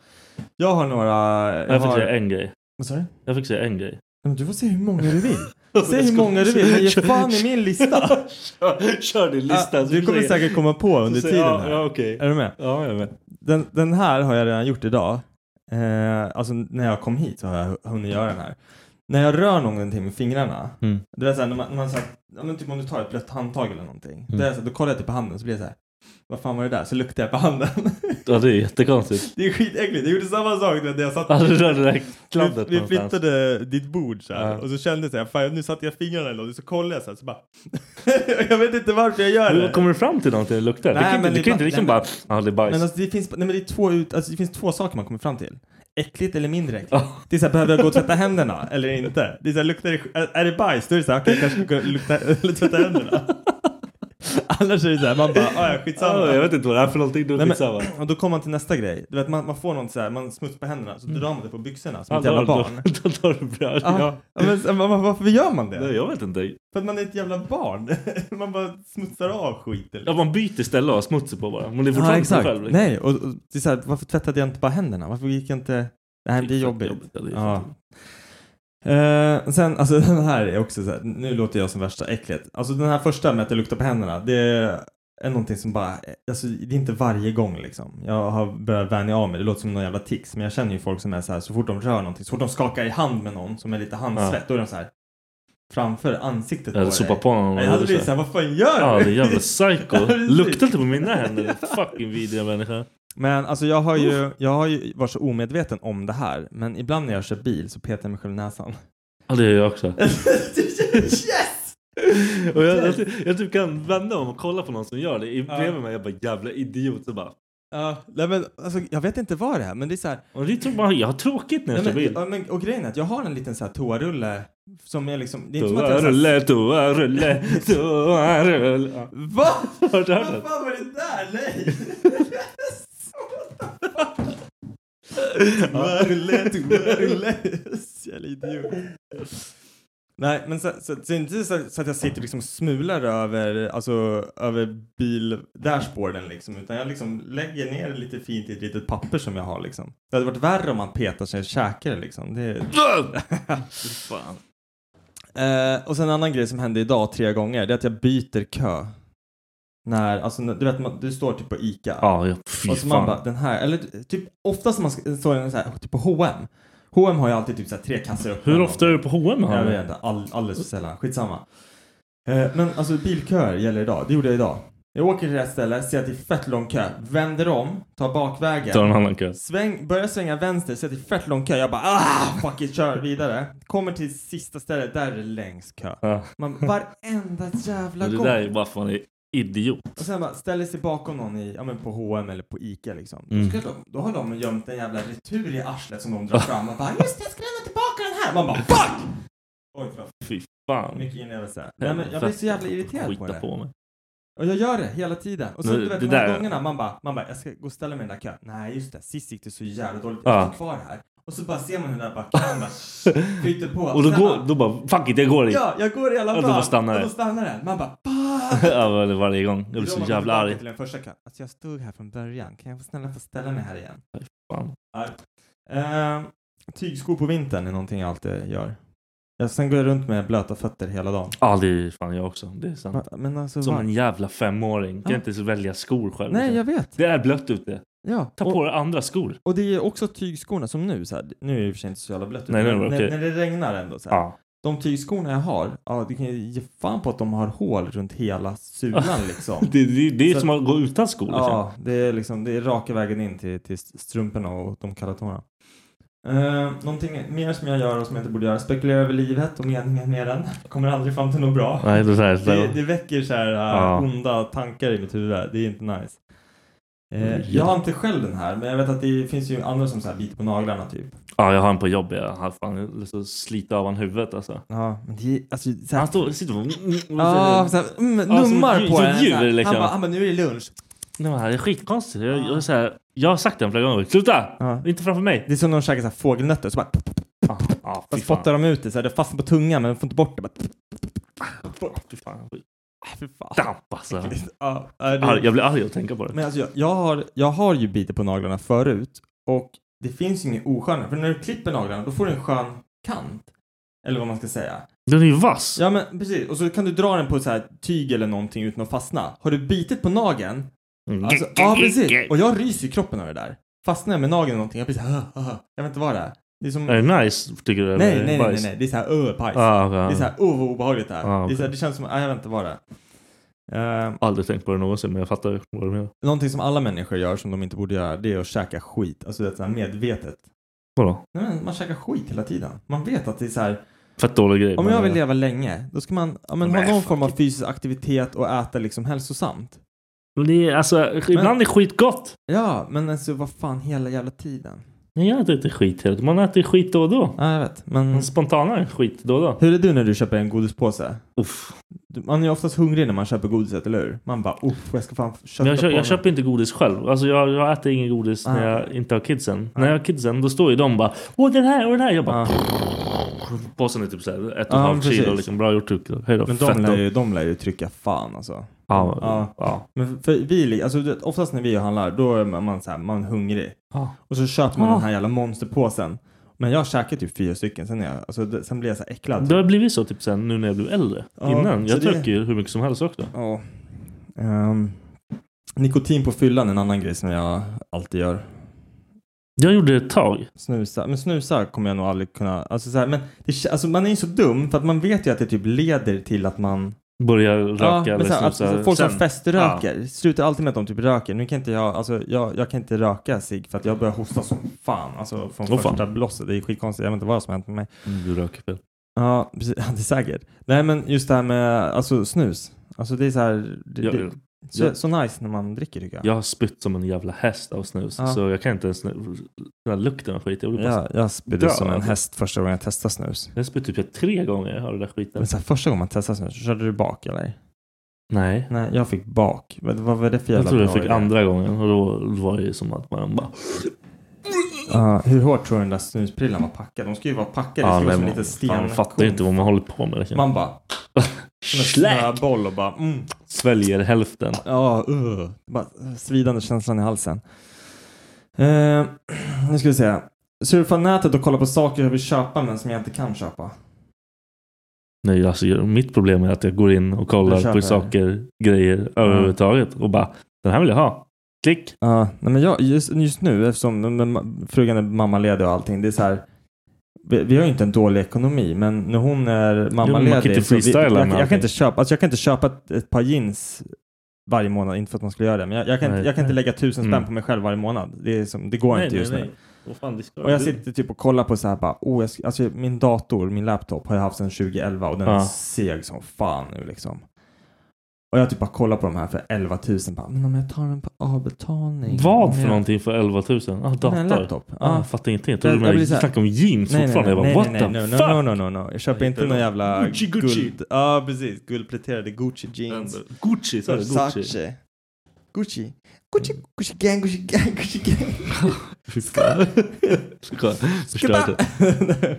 [SPEAKER 2] Jag har några...
[SPEAKER 5] Ja, Jag fick
[SPEAKER 2] har...
[SPEAKER 5] säga en grej.
[SPEAKER 2] Vad sa du? Nej,
[SPEAKER 5] Jag fick säga en grej.
[SPEAKER 2] men Du får se hur många du vill. Säg hur många du vill, men ge fan i min lista.
[SPEAKER 5] kör, kör din lista.
[SPEAKER 2] Ja,
[SPEAKER 5] så
[SPEAKER 2] du kommer
[SPEAKER 5] försöker-
[SPEAKER 2] säkert komma på
[SPEAKER 5] så
[SPEAKER 2] under
[SPEAKER 5] säger-
[SPEAKER 2] tiden
[SPEAKER 5] ja,
[SPEAKER 2] här.
[SPEAKER 5] Ja, okej.
[SPEAKER 2] Är du med?
[SPEAKER 5] Ja, jag är med.
[SPEAKER 2] Den, den här har jag redan gjort idag. Eh, alltså när jag kom hit så har jag hunnit göra den här. När jag rör någonting med fingrarna.
[SPEAKER 5] Mm. Mm.
[SPEAKER 2] Det är såhär när man, när man så här, ja, men typ om du tar ett blött handtag eller någonting. Det är så här, då kollar jag typ på handen så blir jag såhär. vad fan var det där? Så luktade jag på handen.
[SPEAKER 5] Ja, det är jättekonstigt.
[SPEAKER 2] Det är skitäckligt. Jag gjorde samma sak när jag satt
[SPEAKER 5] Ja, du rörde det där kladdet
[SPEAKER 2] Vi, vi
[SPEAKER 5] någonstans.
[SPEAKER 2] flyttade ditt bord så här,
[SPEAKER 5] Ja.
[SPEAKER 2] och så kände jag så här, fan nu satte jag fingrarna i något, så kollade jag så här, så bara. jag vet inte varför jag gör det.
[SPEAKER 5] Men Kommer du fram till någonting det luktar?
[SPEAKER 2] Nej,
[SPEAKER 5] Nej, du kan,
[SPEAKER 2] men
[SPEAKER 5] inte, du
[SPEAKER 2] det
[SPEAKER 5] kan
[SPEAKER 2] är
[SPEAKER 5] inte liksom
[SPEAKER 2] bara-
[SPEAKER 5] bara, ja det är bajs.
[SPEAKER 2] Men alltså, det, finns, nej, men det, är två ut, alltså, det finns två saker man kommer fram till. Äckligt eller mindre äckligt. Det är så här, behöver jag gå och tvätta händerna eller inte? Det är så här, luktar det, är, är det bajs? Då är det så här, okej, jag kanske ska gå och lukta, eller tvätta händerna. Annars är det så här, man bara, "Ah, ja, skitsamma.
[SPEAKER 5] Ja, jag vet inte vad det är för någonting, då
[SPEAKER 2] Nej, men-
[SPEAKER 5] skitsamma.
[SPEAKER 2] Och då kommer man till nästa grej. Du vet, man, man får något så här, man smutsar på händerna, så drar man det på byxorna som
[SPEAKER 5] Mm. Ja,
[SPEAKER 2] ett jävla
[SPEAKER 5] då- då-
[SPEAKER 2] barn.
[SPEAKER 5] Då tar du bröd.
[SPEAKER 2] Ja.
[SPEAKER 5] Ja.
[SPEAKER 2] Ja, men, så- men varför gör man det?
[SPEAKER 5] Nej, jag vet inte.
[SPEAKER 2] För att man är ett jävla barn. man bara smutsar av skiten.
[SPEAKER 5] Ja, man byter ställe och har smutsen på bara. Men det är
[SPEAKER 2] Ja,
[SPEAKER 5] fortfarande på
[SPEAKER 2] exakt.
[SPEAKER 5] själv. liksom.
[SPEAKER 2] Nej, och, och det är så här, varför tvättade jag inte bara händerna? Varför gick jag inte... Det här
[SPEAKER 5] Det är
[SPEAKER 2] blir
[SPEAKER 5] fett
[SPEAKER 2] jobbigt.
[SPEAKER 5] jobbigt, ja, det är fett
[SPEAKER 2] ja. Eh, sen, alltså den här är också så här, nu låter jag som värsta äcklet. Alltså den här första med att det luktar på händerna, det är någonting som bara, alltså det är inte varje gång liksom. Jag har börjat vänja av mig, det låter som någon jävla tics, men jag känner ju folk som är så här, så fort de rör någonting, så fort de skakar i hand med någon som är lite handsvett,
[SPEAKER 5] Ja.
[SPEAKER 2] då är de så här framför ansiktet
[SPEAKER 5] Jag hade sopat på honom.
[SPEAKER 2] Nej, Jag hade blivit så här, vad fan gör
[SPEAKER 5] Ja,
[SPEAKER 2] du?
[SPEAKER 5] det är jävla psycho.
[SPEAKER 2] Ja, precis.
[SPEAKER 5] Luktar inte på mina händer. Fucking vidriga människa.
[SPEAKER 2] Men alltså jag har ju, jag har ju varit så omedveten om det här, men ibland när jag kör bil så petar jag mig själv i näsan.
[SPEAKER 5] Ja, det gör jag också.
[SPEAKER 2] yes!
[SPEAKER 5] Och jag, jag, typ- jag typ kan vända om och kolla på någon som gör det. I bredvid mig, jag bara jävla idiot. Så bara,
[SPEAKER 2] Ja, nej men alltså jag vet inte vad det är, men det är så här.
[SPEAKER 5] och det tror man, jag har tråkigt när jag
[SPEAKER 2] Nej,
[SPEAKER 5] kör
[SPEAKER 2] men,
[SPEAKER 5] bil.
[SPEAKER 2] ja, men, och grejen är att jag har en liten så här toarulle som jag liksom, det är inte som att jag så här,
[SPEAKER 5] Toarulle, toarulle, toarulle. Ja.
[SPEAKER 2] Va?
[SPEAKER 5] Har du hört
[SPEAKER 2] Vad
[SPEAKER 5] det?
[SPEAKER 2] fan var det där? Nej! Toarulle, toarulle. Jävla idiot. Nej, men så, så, så, det är inte så, så att jag sitter liksom och smular över, alltså, över bildashboarden liksom, utan jag liksom lägger ner det lite fint i ett litet papper som jag har liksom. Det hade varit värre om man petar sig i käkar liksom. Det...
[SPEAKER 5] Fan.
[SPEAKER 2] Eh, och sen en annan grej som hände idag tre gånger, det är att jag byter kö. När, alltså, när- du vet, man, du står typ på ICA.
[SPEAKER 5] Ja, ja, fy
[SPEAKER 2] och så man
[SPEAKER 5] fan.
[SPEAKER 2] bara, den här, eller typ oftast när man ska- står den så här, typ på H&M. H&M har ju alltid typ så här tre kassor upp.
[SPEAKER 5] Hur ofta är du på H&M?
[SPEAKER 2] Jag
[SPEAKER 5] Hanna?
[SPEAKER 2] vet inte, all, alldeles för sällan. Skitsamma. Eh, men alltså bilköer gäller idag, det gjorde jag idag. Jag åker till rätt ställe, ser att det är fett lång kö, vänder om, tar bakvägen.
[SPEAKER 5] Tar en annan kö.
[SPEAKER 2] Sväng, börjar svänga vänster, så att det är fett lång kö. Jag bara ah, fuck it, kör vidare. Kommer till sista stället, där är det längst kö.
[SPEAKER 5] Ja.
[SPEAKER 2] Man, varenda jävla
[SPEAKER 5] Men Det
[SPEAKER 2] gång.
[SPEAKER 5] där är bara för att man är idiot.
[SPEAKER 2] Och sen bara ställer sig bakom någon i, ja men på H&M eller på Ica liksom.
[SPEAKER 5] Mm.
[SPEAKER 2] Då, ska de, då har de gömt en jävla retur i arslet som de drar fram och bara just det, jag ska lämna tillbaka den här. Man bara fuck! Oj, förlåt.
[SPEAKER 5] Fy fan.
[SPEAKER 2] Mycket inlevelse. Nej, men jag blir så jävla irriterad på
[SPEAKER 5] Skita
[SPEAKER 2] det.
[SPEAKER 5] på mig.
[SPEAKER 2] Och jag gör det hela tiden. Och så
[SPEAKER 5] Men
[SPEAKER 2] du vet,
[SPEAKER 5] det
[SPEAKER 2] de här
[SPEAKER 5] där-
[SPEAKER 2] gångerna man bara, man bara, jag ska gå och ställa mig i den där kön. Nej, just det. Sist gick det så jävla dåligt.
[SPEAKER 5] Ja.
[SPEAKER 2] Jag står kvar här. Och så bara ser man hur den där bara kön bara flyter på.
[SPEAKER 5] Och då,
[SPEAKER 2] Sen
[SPEAKER 5] går,
[SPEAKER 2] bara,
[SPEAKER 5] då bara fuck it, jag går i.
[SPEAKER 2] Ja, jag går i alla
[SPEAKER 5] Ja,
[SPEAKER 2] fall.
[SPEAKER 5] då bara stannar
[SPEAKER 2] och
[SPEAKER 5] det.
[SPEAKER 2] då stannar den. Man bara, fuck!
[SPEAKER 5] Över varje gång. Jag blir
[SPEAKER 2] Då
[SPEAKER 5] så
[SPEAKER 2] man
[SPEAKER 5] jävla
[SPEAKER 2] tillbaka
[SPEAKER 5] arg.
[SPEAKER 2] Till den första kön. Alltså jag stod här från början. Kan jag få snälla få ställa mig här igen?
[SPEAKER 5] Fan.
[SPEAKER 2] Ja. Ehm, tygskor på vintern är någonting jag alltid gör. Jag, sen går jag runt med blöta fötter hela dagen.
[SPEAKER 5] Ja, det är fan jag också. Det är sant.
[SPEAKER 2] Va- Men alltså,
[SPEAKER 5] Som
[SPEAKER 2] va-
[SPEAKER 5] en jävla femåring. Kan
[SPEAKER 2] Ja.
[SPEAKER 5] inte ens välja skor själv.
[SPEAKER 2] Nej, jag vet.
[SPEAKER 5] Det är blött ute.
[SPEAKER 2] Ja.
[SPEAKER 5] Ta på dig andra skor.
[SPEAKER 2] Och det är också tygskorna som nu, så här, nu är det i och för sig inte så jävla blött
[SPEAKER 5] Nej,
[SPEAKER 2] men
[SPEAKER 5] nu är det
[SPEAKER 2] när,
[SPEAKER 5] okej.
[SPEAKER 2] när det regnar ändå så här.
[SPEAKER 5] Ja.
[SPEAKER 2] De tygskorna jag har, ja du kan ju ge fan på att de har hål runt hela sulan liksom.
[SPEAKER 5] Det, det, det är
[SPEAKER 2] Så
[SPEAKER 5] som
[SPEAKER 2] att-
[SPEAKER 5] att gå utan skor.
[SPEAKER 2] Ja, det är liksom, det är raka vägen in till, till strumporna och de kalla tårna. Uh, någonting mer som jag gör och som jag inte borde göra, spekulera över livet och meningen med den. Jag kommer aldrig fram till något bra.
[SPEAKER 5] Nej, det är så här-
[SPEAKER 2] det, det väcker så här eh,
[SPEAKER 5] Ja.
[SPEAKER 2] onda tankar i mitt huvud. Det är inte nice.
[SPEAKER 5] Mm.
[SPEAKER 2] Eh, jag har inte själv den här, men jag vet att det finns ju andra som så här biter på naglarna typ.
[SPEAKER 5] Ja, jag har en på jobbet. Jag har fan jag vill så slita av honom huvudet alltså.
[SPEAKER 2] Ja, men det är alltså så
[SPEAKER 5] Han
[SPEAKER 2] här,
[SPEAKER 5] står, sitter och...
[SPEAKER 2] Ja, så här, mm,
[SPEAKER 5] Ja, som
[SPEAKER 2] nummar
[SPEAKER 5] ett
[SPEAKER 2] på
[SPEAKER 5] djur-
[SPEAKER 2] den. så här.
[SPEAKER 5] djur, liksom.
[SPEAKER 2] Han bara, han bara, nu är det lunch.
[SPEAKER 5] Nej, men det är skitkonstigt. Jag, jag, är så här, jag har sagt det flera gånger. Sluta!
[SPEAKER 2] Ja.
[SPEAKER 5] Inte framför mig!
[SPEAKER 2] Det är som när de käkar så här fågelnötter, så bara,
[SPEAKER 5] Ja, ja,
[SPEAKER 2] så
[SPEAKER 5] fy fan.
[SPEAKER 2] spottar de ut det så här, det fastnar på tungan men de får inte bort det. Bara,
[SPEAKER 5] Ah, Fy fan.
[SPEAKER 2] ah, fy fan.
[SPEAKER 5] Damp alltså.
[SPEAKER 2] Ja, äh, det-
[SPEAKER 5] Arg- Jag blir arg att tänka på det.
[SPEAKER 2] Men alltså jag, jag, har, jag har ju bitit på naglarna förut och det finns ju ingen oskönare. För när du klipper naglarna då får du en skön kant. Eller vad man ska säga.
[SPEAKER 5] Den är ju vass.
[SPEAKER 2] Ja men precis. Och så kan du dra den på så här tyg eller någonting utan att fastna. Har du bitit på nageln.
[SPEAKER 5] Mm.
[SPEAKER 2] Alltså, ja precis. Och jag ryser i kroppen av det där. Fastnar jag med nageln eller någonting jag blir så här, "Ah, ah." Jag vet inte vad det är. Det är som...
[SPEAKER 5] Är det nice, tycker du?
[SPEAKER 2] Nej,
[SPEAKER 5] eller
[SPEAKER 2] nej, nej, nej,
[SPEAKER 5] bajs?
[SPEAKER 2] nej. Det är så här öh, pajs.
[SPEAKER 5] Ah, okej.
[SPEAKER 2] Det är så här, oh vad obehagligt det här.
[SPEAKER 5] Ah,
[SPEAKER 2] det, är så här,
[SPEAKER 5] okej.
[SPEAKER 2] det känns som, nej jag vet inte vad det är. Ehm,
[SPEAKER 5] Aldrig tänkt på det någonsin men jag fattar vad du menar.
[SPEAKER 2] Någonting som alla människor gör som de inte borde göra, det är att käka skit. Alltså det är så här medvetet.
[SPEAKER 5] Vadå?
[SPEAKER 2] Nej, men man käkar skit hela tiden. Man vet att det är så här,
[SPEAKER 5] Fett dålig grej.
[SPEAKER 2] om
[SPEAKER 5] men-
[SPEAKER 2] jag vill leva länge, då ska man ja, men,
[SPEAKER 5] Men
[SPEAKER 2] ha någon
[SPEAKER 5] fuck
[SPEAKER 2] form av fysisk aktivitet och äta liksom hälsosamt.
[SPEAKER 5] Men Det är, alltså, ibland är skit gott.
[SPEAKER 2] Ja, men alltså vad fan hela jävla tiden.
[SPEAKER 5] Men jag äter inte skit hela Man äter skit då och då.
[SPEAKER 2] Ja, jag vet. Men
[SPEAKER 5] Man spontanar skit då och då.
[SPEAKER 2] hur är du när du köper en godispåse?
[SPEAKER 5] Uff.
[SPEAKER 2] Du- Man är oftast hungrig när man köper godiset, eller hur? Man bara uff, jag ska fan kötta
[SPEAKER 5] Men jag, kö-
[SPEAKER 2] på
[SPEAKER 5] jag
[SPEAKER 2] mig."
[SPEAKER 5] köper inte godis själv. Alltså jag, jag äter ingen godis när
[SPEAKER 2] Ah,
[SPEAKER 5] jag inte har kidsen. När jag har kidsen då står ju de bara Åh den här och den här. Jag bara Påsen är typ såhär ett och ett
[SPEAKER 2] Ja, men
[SPEAKER 5] halvt kilo
[SPEAKER 2] Ah. precis.
[SPEAKER 5] liksom. Bra gjort Tucke. Hej då.
[SPEAKER 2] Men
[SPEAKER 5] fett
[SPEAKER 2] de
[SPEAKER 5] då.
[SPEAKER 2] lär, ju, de lär ju trycka fan alltså.
[SPEAKER 5] Ja,
[SPEAKER 2] Ja.
[SPEAKER 5] ja.
[SPEAKER 2] Men för vi, li- alltså, du vet, oftast när vi handlar, då är man, man, så här, man är hungrig.
[SPEAKER 5] Ja. Ah.
[SPEAKER 2] Och så köper man
[SPEAKER 5] Ja.
[SPEAKER 2] den här jävla monsterpåsen. Men jag käkar typ fyra stycken, sen, är jag, alltså, det- sen blir jag så här äcklad.
[SPEAKER 5] Det har blivit så typ sen nu när jag blev äldre.
[SPEAKER 2] Ja,
[SPEAKER 5] Innan.
[SPEAKER 2] så
[SPEAKER 5] Jag
[SPEAKER 2] det-
[SPEAKER 5] drack ju hur mycket som helst också.
[SPEAKER 2] Ja. Ehm, nikotin på fyllan är en annan grej som jag alltid gör.
[SPEAKER 5] Jag gjorde det ett tag.
[SPEAKER 2] Snusa. Men snusa kommer jag nog aldrig kunna. Alltså, så här, men det, kä- alltså, man är ju så dum för att man vet ju att det typ leder till att man...
[SPEAKER 5] Började röka
[SPEAKER 2] men
[SPEAKER 5] eller
[SPEAKER 2] så här,
[SPEAKER 5] snusa.
[SPEAKER 2] att- alltså, folk som
[SPEAKER 5] sen.
[SPEAKER 2] feströker slutar alltid med att de typ röker. Nu kan inte jag, alltså, jag, jag kan inte röka cigg för att jag börjar hosta som fan. Alltså från
[SPEAKER 5] Åh, fan.
[SPEAKER 2] första blåset. Det är skitkonstigt. Jag vet inte vad som har hänt med mig.
[SPEAKER 5] Mm, Du röker fel.
[SPEAKER 2] Ja, precis. Ja, Det är säkert. Nej, men just det här med alltså, snus. Alltså det är så här... Det,
[SPEAKER 5] Jag,
[SPEAKER 2] det, så,
[SPEAKER 5] jag-
[SPEAKER 2] så nice när man dricker tycker jag.
[SPEAKER 5] jag har spytt som en jävla häst av snus.
[SPEAKER 2] Ja.
[SPEAKER 5] Så jag kan inte ens... Den här lukten av skit. Jag, blir bara
[SPEAKER 2] Ja, jag spydde
[SPEAKER 5] Dö,
[SPEAKER 2] som en
[SPEAKER 5] alltså.
[SPEAKER 2] häst första gången jag testade snus.
[SPEAKER 5] jag har spytt typ tre gånger av den där skiten.
[SPEAKER 2] Men så här, första gången man testade snus, körde du bak eller?
[SPEAKER 5] Nej.
[SPEAKER 2] Nej, jag fick bak. Vad, vad var det för jävla
[SPEAKER 5] Jag tror jag
[SPEAKER 2] bra
[SPEAKER 5] fick
[SPEAKER 2] idé?
[SPEAKER 5] andra gången och då var det ju som att man bara...
[SPEAKER 2] Ja, hur hårt tror du den där snusprillan var packad? De ska ju vara packade, det ska vara som lite sten.
[SPEAKER 5] fan, fattar ju inte vad man håller på med. Liksom.
[SPEAKER 2] Man bara... Som en
[SPEAKER 5] Släck!
[SPEAKER 2] snöboll och bara... Mm.
[SPEAKER 5] Sväljer hälften.
[SPEAKER 2] Ja, uh. bara svidande känslan i halsen. Eh, nu ska vi se. Surfa nätet och kolla på saker jag vill köpa men som jag inte kan köpa.
[SPEAKER 5] Nej, alltså, jag- mitt problem är att jag går in och
[SPEAKER 2] Du
[SPEAKER 5] kollar
[SPEAKER 2] köper.
[SPEAKER 5] på saker, grejer överhuvudtaget och bara den här vill jag ha. Klick!
[SPEAKER 2] Ja, nej men jag, just, just nu eftersom men- men frugan är mammaledig och allting. Det är så här. Vi, vi har ju inte en dålig ekonomi men när hon är mammaledig.
[SPEAKER 5] man kan inte
[SPEAKER 2] så Typ vi-
[SPEAKER 5] freestyla med
[SPEAKER 2] jag, jag, jag,
[SPEAKER 5] allting.
[SPEAKER 2] kan inte köpa, alltså jag kan inte köpa ett, ett par jeans varje månad. Inte för att man skulle göra det men jag, jag, kan,
[SPEAKER 5] Nej.
[SPEAKER 2] inte, jag kan inte lägga tusen spänn
[SPEAKER 5] Mm.
[SPEAKER 2] på mig själv varje månad. Det, är som, det går inte just nu.
[SPEAKER 5] Vad fan, det ska
[SPEAKER 2] Och jag
[SPEAKER 5] du-
[SPEAKER 2] sitter typ och kollar på så här bara, oh, jag ska, alltså min dator, min laptop har jag haft sedan 2011 och den är
[SPEAKER 5] Ja.
[SPEAKER 2] seg som fan nu liksom. Och jag typ bara kollar på de här för 11 000 bara, men om jag tar den på avbetalning. om
[SPEAKER 5] Vad för
[SPEAKER 2] jag...
[SPEAKER 5] någonting för 11 000? Ah, dator.
[SPEAKER 2] Nej, en laptop.
[SPEAKER 5] Ah,
[SPEAKER 2] Ja.
[SPEAKER 5] jag fattar ingenting. Jag
[SPEAKER 2] Jag-
[SPEAKER 5] trodde
[SPEAKER 2] jag
[SPEAKER 5] du
[SPEAKER 2] blir så här-
[SPEAKER 5] snackade om jeans
[SPEAKER 2] Nej, nej,
[SPEAKER 5] fortfarande.
[SPEAKER 2] nej,
[SPEAKER 5] jag bara,
[SPEAKER 2] nej,
[SPEAKER 5] what
[SPEAKER 2] nej,
[SPEAKER 5] the
[SPEAKER 2] nej,
[SPEAKER 5] fuck?
[SPEAKER 2] no, no, no, no, no. Jag köper inte
[SPEAKER 5] hittar
[SPEAKER 2] någon
[SPEAKER 5] du?
[SPEAKER 2] jävla
[SPEAKER 5] Gucci, Gucci.
[SPEAKER 2] guld... Ja, precis. Guldpläterade Gucci jeans.
[SPEAKER 5] Gucci, sa du? Gucci.
[SPEAKER 2] Versace. Gucci. Gucci, Gucci gang, Gucci gang, Gucci gang.
[SPEAKER 5] Fy fan. Förstörde.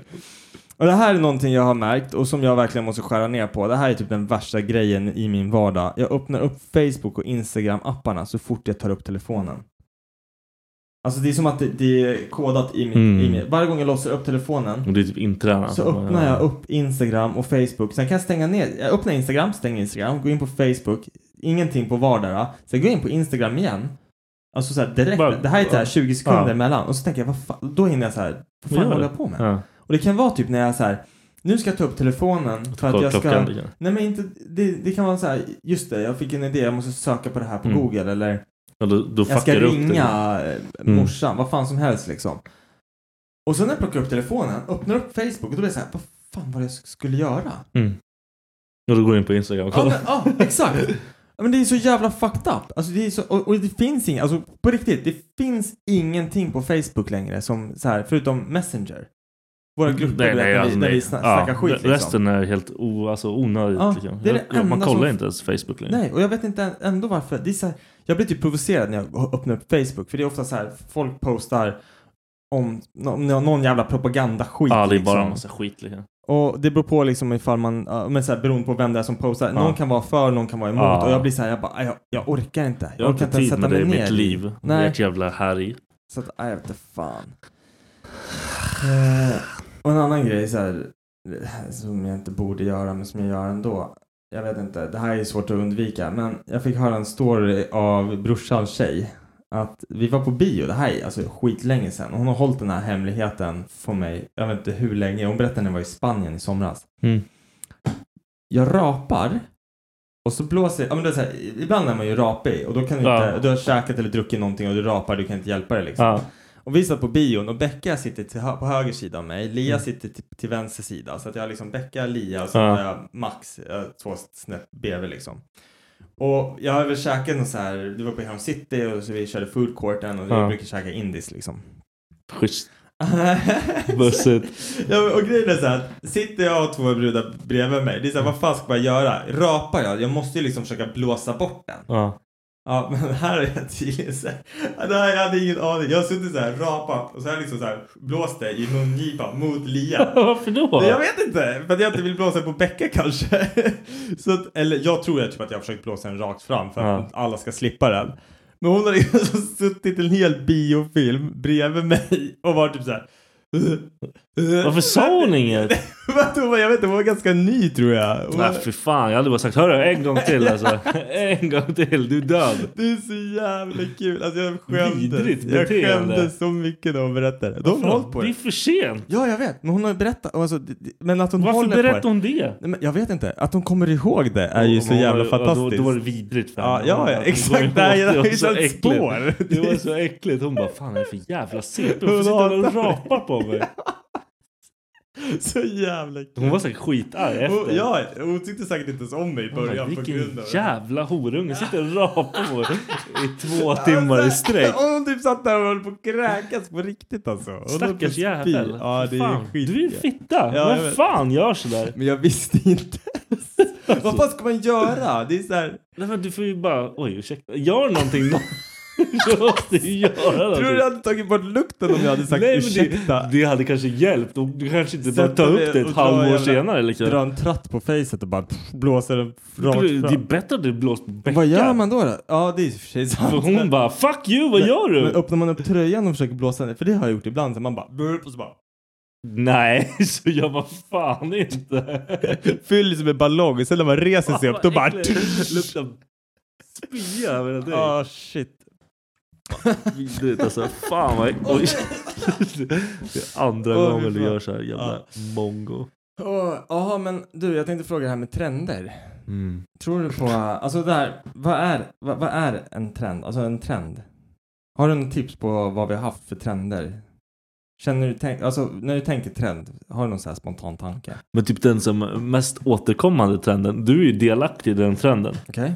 [SPEAKER 2] och det här är någonting jag har märkt och som jag verkligen måste skära ner på. Det här är typ den värsta grejen i min vardag. Jag öppnar upp Facebook och Instagram-apparna så fort jag tar upp telefonen. Alltså det är som att det, det är kodat i min,
[SPEAKER 5] Mm.
[SPEAKER 2] i min... Varje gång jag låser upp telefonen
[SPEAKER 5] Och det är typ intränat.
[SPEAKER 2] så öppnar jag upp Instagram och Facebook. Sen kan jag stänga ner. Jag öppnar Instagram, stänger Instagram, går in på Facebook. Ingenting på vardera. Sen går jag in på Instagram igen. Alltså så här direkt.
[SPEAKER 5] Bara-
[SPEAKER 2] det här är så här 20 sekunder
[SPEAKER 5] Ja.
[SPEAKER 2] emellan. Och så tänker jag, vad fan, då hinner jag så här. Vad
[SPEAKER 5] Vad
[SPEAKER 2] fan
[SPEAKER 5] gör
[SPEAKER 2] håller
[SPEAKER 5] du?
[SPEAKER 2] jag på med?
[SPEAKER 5] Ja.
[SPEAKER 2] Och det kan vara typ när jag så här. Nu ska jag ta upp telefonen för att
[SPEAKER 5] Kolla
[SPEAKER 2] jag ska...
[SPEAKER 5] klockan, liksom.
[SPEAKER 2] Nej men inte, det, det kan vara så här, just det, jag fick en idé, jag måste söka på det här på
[SPEAKER 5] Mm.
[SPEAKER 2] Google eller
[SPEAKER 5] Ja, då, då
[SPEAKER 2] jag ska
[SPEAKER 5] fuckar du upp det.
[SPEAKER 2] ringa eh,
[SPEAKER 5] Mm.
[SPEAKER 2] morsan, vad fan som helst liksom. Och sen när jag plockar upp telefonen, öppnar upp Facebook och då blir det så här, vad fan var det jag skulle göra?
[SPEAKER 5] Mm. Och då går du in på Instagram och
[SPEAKER 2] Ja,
[SPEAKER 5] kollar.
[SPEAKER 2] men, ja exakt. Ja, Men det är så jävla fucked up. Alltså det är så, och, och det finns inget, alltså på riktigt, det finns ingenting på Facebook längre som så här, förutom Messenger. Våra grupper
[SPEAKER 5] nej,
[SPEAKER 2] där
[SPEAKER 5] nej,
[SPEAKER 2] vi,
[SPEAKER 5] alltså,
[SPEAKER 2] där
[SPEAKER 5] nej.
[SPEAKER 2] vi sna- snackar
[SPEAKER 5] Ja,
[SPEAKER 2] skit
[SPEAKER 5] re-
[SPEAKER 2] liksom.
[SPEAKER 5] Resten är helt o, alltså, onödigt.
[SPEAKER 2] Ja,
[SPEAKER 5] liksom.
[SPEAKER 2] det är det
[SPEAKER 5] Jag- man
[SPEAKER 2] enda
[SPEAKER 5] kollar
[SPEAKER 2] som-
[SPEAKER 5] inte ens Facebook liksom. längre.
[SPEAKER 2] Nej, och jag vet inte än- ändå varför. Det är så här, jag blir typ provocerad när jag öppnar upp Facebook. För det är ofta så här, folk postar om om någon jävla propagandaskit.
[SPEAKER 5] ja, det är bara en
[SPEAKER 2] liksom.
[SPEAKER 5] massa skit. Liksom.
[SPEAKER 2] Och det beror på liksom ifall man, ja, men så här, beroende på vem det är som postar.
[SPEAKER 5] Ja.
[SPEAKER 2] Någon kan vara för, någon kan vara emot.
[SPEAKER 5] Ja.
[SPEAKER 2] Och jag blir så här, jag bara, "Aj, jag, jag orkar inte.
[SPEAKER 5] Jag har
[SPEAKER 2] orkar
[SPEAKER 5] inte tid med dig i mitt liv.
[SPEAKER 2] Nej.
[SPEAKER 5] Nej. Ert jävla Harry.
[SPEAKER 2] Så att, aj, jag vete fan. Eh, och en annan grej så här, eh, som jag inte borde göra men som jag gör ändå. Jag vet inte, det här är svårt att undvika men jag fick höra en story av brorsans tjej. Att vi var på bio, det här är alltså skitlänge sedan. Hon har hållit den här hemligheten för mig, jag vet inte hur länge. Hon berättade när jag var i Spanien i somras.
[SPEAKER 5] Mm.
[SPEAKER 2] Jag rapar Och så blåser, ja men det är så här, ibland är man ju rapig och då kan du
[SPEAKER 5] Ja.
[SPEAKER 2] inte, du har käkat eller druckit någonting och du rapar, du kan inte hjälpa det liksom.
[SPEAKER 5] Ja.
[SPEAKER 2] Och vi satt på bion och Becka sitter till, hö- på höger sida av mig, Lia sitter till, till vänster sida. Så att jag har liksom Becka, Lia och så
[SPEAKER 5] Mm. Ja.
[SPEAKER 2] har jag Max, eh, två snäpp bredvid liksom. Och jag har väl käkat något så här, det var på Helm City och så vi körde food courten och
[SPEAKER 5] Ja.
[SPEAKER 2] vi brukar käka indiskt liksom.
[SPEAKER 5] Schysst.
[SPEAKER 2] Bussigt. ja, men- och grejen är så här, att sitter jag och två brudar bredvid mig, det är så här, vad fan ska man göra? Rapar jag? Jag måste ju liksom försöka blåsa bort den.
[SPEAKER 5] Ja.
[SPEAKER 2] Ja, men här är jag tydligen så här, Ja, det här, jag hade ingen aning. Jag har suttit så här, rapat och så har jag liksom så här blåst det i mungipan mot Lia.
[SPEAKER 5] Varför då?
[SPEAKER 2] Jag vet inte, för att jag inte vill blåsa på Becka kanske. så att, eller jag tror jag typ att jag har försökt blåsa den rakt fram för att alla ska slippa den. Men hon har liksom suttit en hel biofilm bredvid mig och varit typ så här.
[SPEAKER 5] Varför sa hon inget?
[SPEAKER 2] Hon var- jag vet inte, hon var ganska ny tror jag. Hon
[SPEAKER 5] Nej
[SPEAKER 2] var-
[SPEAKER 5] fy fan, jag hade bara sagt hörru en gång till alltså. En gång till, du är död.
[SPEAKER 2] Det är så jävla kul. Alltså jag skämdes.
[SPEAKER 5] Vidrigt
[SPEAKER 2] Jag
[SPEAKER 5] beteende.
[SPEAKER 2] skämdes så mycket när hon berättade. De har
[SPEAKER 5] Varför då?
[SPEAKER 2] hållit på
[SPEAKER 5] Det är för sent.
[SPEAKER 2] Ja, jag vet. Men hon har ju berättat. Alltså, det- det- men att hon
[SPEAKER 5] Varför
[SPEAKER 2] håller
[SPEAKER 5] berättar
[SPEAKER 2] på
[SPEAKER 5] hon det?
[SPEAKER 2] Nej, men jag vet inte. Att hon kommer ihåg det är ju så
[SPEAKER 5] Hon var- ja,
[SPEAKER 2] jävla
[SPEAKER 5] då-
[SPEAKER 2] fantastiskt.
[SPEAKER 5] Då var det vidrigt för
[SPEAKER 2] Ja,
[SPEAKER 5] henne.
[SPEAKER 2] ja, ja,
[SPEAKER 5] Hon bara,
[SPEAKER 2] exakt.
[SPEAKER 5] det
[SPEAKER 2] Det här
[SPEAKER 5] var- det
[SPEAKER 2] är-
[SPEAKER 5] var
[SPEAKER 2] det är
[SPEAKER 5] så
[SPEAKER 2] ett
[SPEAKER 5] äckligt.
[SPEAKER 2] spår.
[SPEAKER 5] Det var så äckligt. Hon bara, fan vad är det för jävla CP?
[SPEAKER 2] Hon
[SPEAKER 5] Varför sitter hon och
[SPEAKER 2] hatar mig.
[SPEAKER 5] rapar på mig?
[SPEAKER 2] Så jävla kul.
[SPEAKER 5] Hon var säkert skitarg
[SPEAKER 2] Hon-
[SPEAKER 5] efter.
[SPEAKER 2] Ja, hon tyckte säkert inte ens om mig i
[SPEAKER 5] Hon bara,
[SPEAKER 2] början på grund
[SPEAKER 5] Vilken
[SPEAKER 2] av det.
[SPEAKER 5] jävla horunge. Sitter och rapar på mig i två timmar i sträck.
[SPEAKER 2] Och hon typ satt där och höll på att kräkas på riktigt alltså. Hon höll på att
[SPEAKER 5] Stackars
[SPEAKER 2] spy.
[SPEAKER 5] jävel.
[SPEAKER 2] Ja, det är
[SPEAKER 5] Fan,
[SPEAKER 2] skit.
[SPEAKER 5] Du är en fitta.
[SPEAKER 2] Ja, jag
[SPEAKER 5] Vem
[SPEAKER 2] vet.
[SPEAKER 5] fan gör sådär?
[SPEAKER 2] Men jag visste inte. Vad fan ska man göra? Det är så här.
[SPEAKER 5] Alltså. Nej men du får ju bara, oj ursäkta, gör någonting. Du måste ju göra någonting.
[SPEAKER 2] Tror du jag hade tagit bort lukten om jag hade sagt
[SPEAKER 5] Nej, men det-
[SPEAKER 2] ursäkta?
[SPEAKER 5] Det hade kanske hjälpt. Och du kanske inte bara
[SPEAKER 2] Sätta
[SPEAKER 5] tar
[SPEAKER 2] dig
[SPEAKER 5] upp det
[SPEAKER 2] och
[SPEAKER 5] ett
[SPEAKER 2] dra
[SPEAKER 5] halvår
[SPEAKER 2] jävla-
[SPEAKER 5] senare. Liksom.
[SPEAKER 2] Dra en tratt på facet och bara pff, blåsa den rakt
[SPEAKER 5] Det är
[SPEAKER 2] fram.
[SPEAKER 5] bättre att du blåst på Becka.
[SPEAKER 2] Vad gör man då? då? Ja, det är i och för sig sant.
[SPEAKER 5] För hon bara fuck you, vad
[SPEAKER 2] Men-
[SPEAKER 5] gör du?
[SPEAKER 2] Men öppnar man upp tröjan och försöker blåsa den, för det har jag gjort ibland, så man bara burp och så bara
[SPEAKER 5] Nej, så gör man fan inte.
[SPEAKER 2] fyller sig liksom med ballong och sen när man reser sig upp då
[SPEAKER 5] Vad
[SPEAKER 2] bara
[SPEAKER 5] äckligt. Luktar spya över dig.
[SPEAKER 2] Ah shit.
[SPEAKER 5] Vidrigt alltså. Fan vad äckligt. Oj. Det är andra
[SPEAKER 2] Åh, fy
[SPEAKER 5] gången du
[SPEAKER 2] fan.
[SPEAKER 5] gör så här jävla mongo.
[SPEAKER 2] Åh, Ja, men du, jag tänkte fråga det här med trender.
[SPEAKER 5] Mm.
[SPEAKER 2] Tror du på, alltså där, vad är, vad, vad är en trend? Alltså en trend? Har du något tips på vad vi har haft för trender? Känner du, tänk, alltså när du tänker trend, har du någon sån här spontan tanke?
[SPEAKER 5] Men typ den som mest återkommande trenden. Du är ju delaktig i den trenden.
[SPEAKER 2] Okej?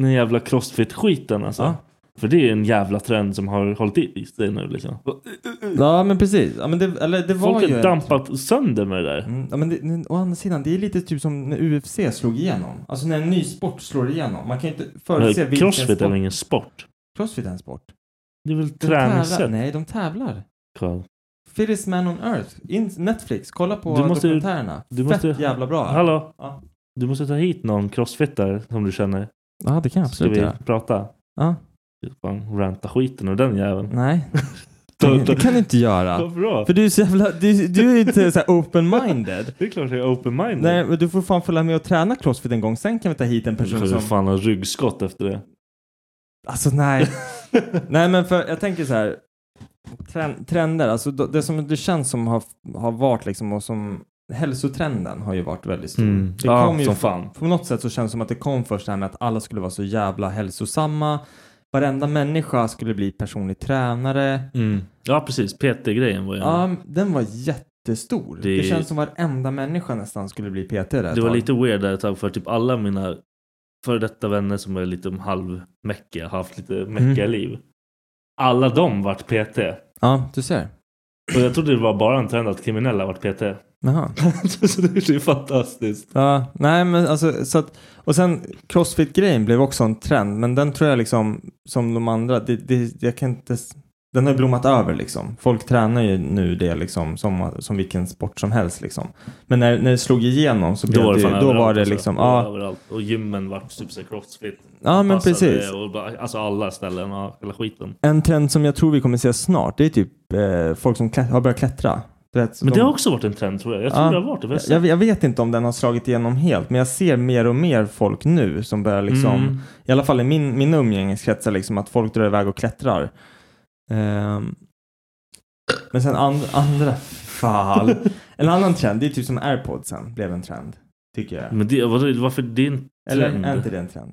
[SPEAKER 5] Den jävla crossfit-skiten alltså.
[SPEAKER 2] Ja.
[SPEAKER 5] För det är en jävla trend som har hållit i sig nu liksom.
[SPEAKER 2] Ja, men precis. Ja, men det, eller det var ju...
[SPEAKER 5] Folk har
[SPEAKER 2] en-
[SPEAKER 5] dampat sönder med det där.
[SPEAKER 2] Mm, ja, men det, men å andra sidan, det är lite typ som när UFC slog igenom. Alltså när en ny sport slår igenom. Man kan ju inte förutse
[SPEAKER 5] Men
[SPEAKER 2] vilken
[SPEAKER 5] Crossfit är
[SPEAKER 2] sport...
[SPEAKER 5] väl ingen sport?
[SPEAKER 2] Crossfit är en sport?
[SPEAKER 5] Det är väl
[SPEAKER 2] De tävlar-
[SPEAKER 5] träningssätt?
[SPEAKER 2] Nej, de tävlar.
[SPEAKER 5] Carl.
[SPEAKER 2] Fittest Man on Earth. In, Netflix. Kolla på
[SPEAKER 5] Du måste-
[SPEAKER 2] dokumentärerna.
[SPEAKER 5] du måste-
[SPEAKER 2] Fett jävla bra.
[SPEAKER 5] Hallå?
[SPEAKER 2] Ja.
[SPEAKER 5] Du måste ta hit någon crossfittare som du känner.
[SPEAKER 2] Ja, det kan jag
[SPEAKER 5] Ska
[SPEAKER 2] absolut
[SPEAKER 5] vi
[SPEAKER 2] göra.
[SPEAKER 5] prata?
[SPEAKER 2] Ja.
[SPEAKER 5] Fan, ranta skiten ur den jäveln.
[SPEAKER 2] Nej, det, det kan du inte göra.
[SPEAKER 5] Varför då?
[SPEAKER 2] För du är så jävla... Du, du är ju inte så här open-minded.
[SPEAKER 5] Det är klart jag är open-minded.
[SPEAKER 2] Nej, men du får fan följa med och träna crossfit en gång. Sen kan vi ta hit en
[SPEAKER 5] Du
[SPEAKER 2] person
[SPEAKER 5] får
[SPEAKER 2] som...
[SPEAKER 5] ju fan ha ryggskott efter det.
[SPEAKER 2] Alltså nej. nej men för jag tänker så här. Tren, trender, alltså d- det som det känns som har, har varit liksom och som hälsotrenden har ju varit väldigt stor.
[SPEAKER 5] Mm.
[SPEAKER 2] Det
[SPEAKER 5] Ja,
[SPEAKER 2] ju
[SPEAKER 5] som fan.
[SPEAKER 2] På något sätt så känns det som att det kom först det här med att alla skulle vara så jävla hälsosamma. Varenda människa skulle bli personlig tränare.
[SPEAKER 5] Mm. Ja precis, PT-grejen var ju en-
[SPEAKER 2] Ja, den var jättestor. Det...
[SPEAKER 5] Det-
[SPEAKER 2] känns som varenda människa nästan skulle bli PT där ett
[SPEAKER 5] Det var
[SPEAKER 2] tag.
[SPEAKER 5] lite weird där ett tag för typ alla mina före detta vänner som är lite halvmäckiga, har haft lite
[SPEAKER 2] Mm.
[SPEAKER 5] mäckiga liv. Alla de vart PT.
[SPEAKER 2] Ja, du ser.
[SPEAKER 5] Och jag trodde det var bara en trend att kriminella vart PT.
[SPEAKER 2] Jaha.
[SPEAKER 5] så det är ju fantastiskt.
[SPEAKER 2] Ja, nej men alltså så att, och sen crossfit-grejen blev också en trend, men den tror jag liksom som de andra, det, det, jag kan inte, s- den har ju blommat över liksom. Folk tränar ju nu det liksom som, som vilken sport som helst liksom. Men när, när det slog igenom så blev
[SPEAKER 5] Då var det,
[SPEAKER 2] det,
[SPEAKER 5] fan
[SPEAKER 2] då var
[SPEAKER 5] överallt,
[SPEAKER 2] det
[SPEAKER 5] alltså.
[SPEAKER 2] liksom,
[SPEAKER 5] Då var det
[SPEAKER 2] ja,
[SPEAKER 5] överallt. Och gymmen vart typ så här crossfit.
[SPEAKER 2] ja men
[SPEAKER 5] Passade
[SPEAKER 2] precis.
[SPEAKER 5] Och bara, alltså alla ställen och hela skiten.
[SPEAKER 2] En trend som jag tror vi kommer se snart, det är typ eh, folk som klä, har börjat klättra. Du vet,
[SPEAKER 5] Men
[SPEAKER 2] de-
[SPEAKER 5] det har också varit en trend tror jag. Jag tror
[SPEAKER 2] Ja.
[SPEAKER 5] det har varit det. för
[SPEAKER 2] jag, jag vet inte om den har slagit igenom helt, men jag ser mer och mer folk nu som börjar liksom
[SPEAKER 5] Mm.
[SPEAKER 2] I alla fall i min, min umgängeskrets är liksom att folk drar iväg och klättrar. Ehm, men sen and, andra fall. En annan trend, det är typ som airpodsen blev en trend. Tycker jag.
[SPEAKER 5] Men det, vadå, varför, det är en trend.
[SPEAKER 2] Eller är inte det en trend?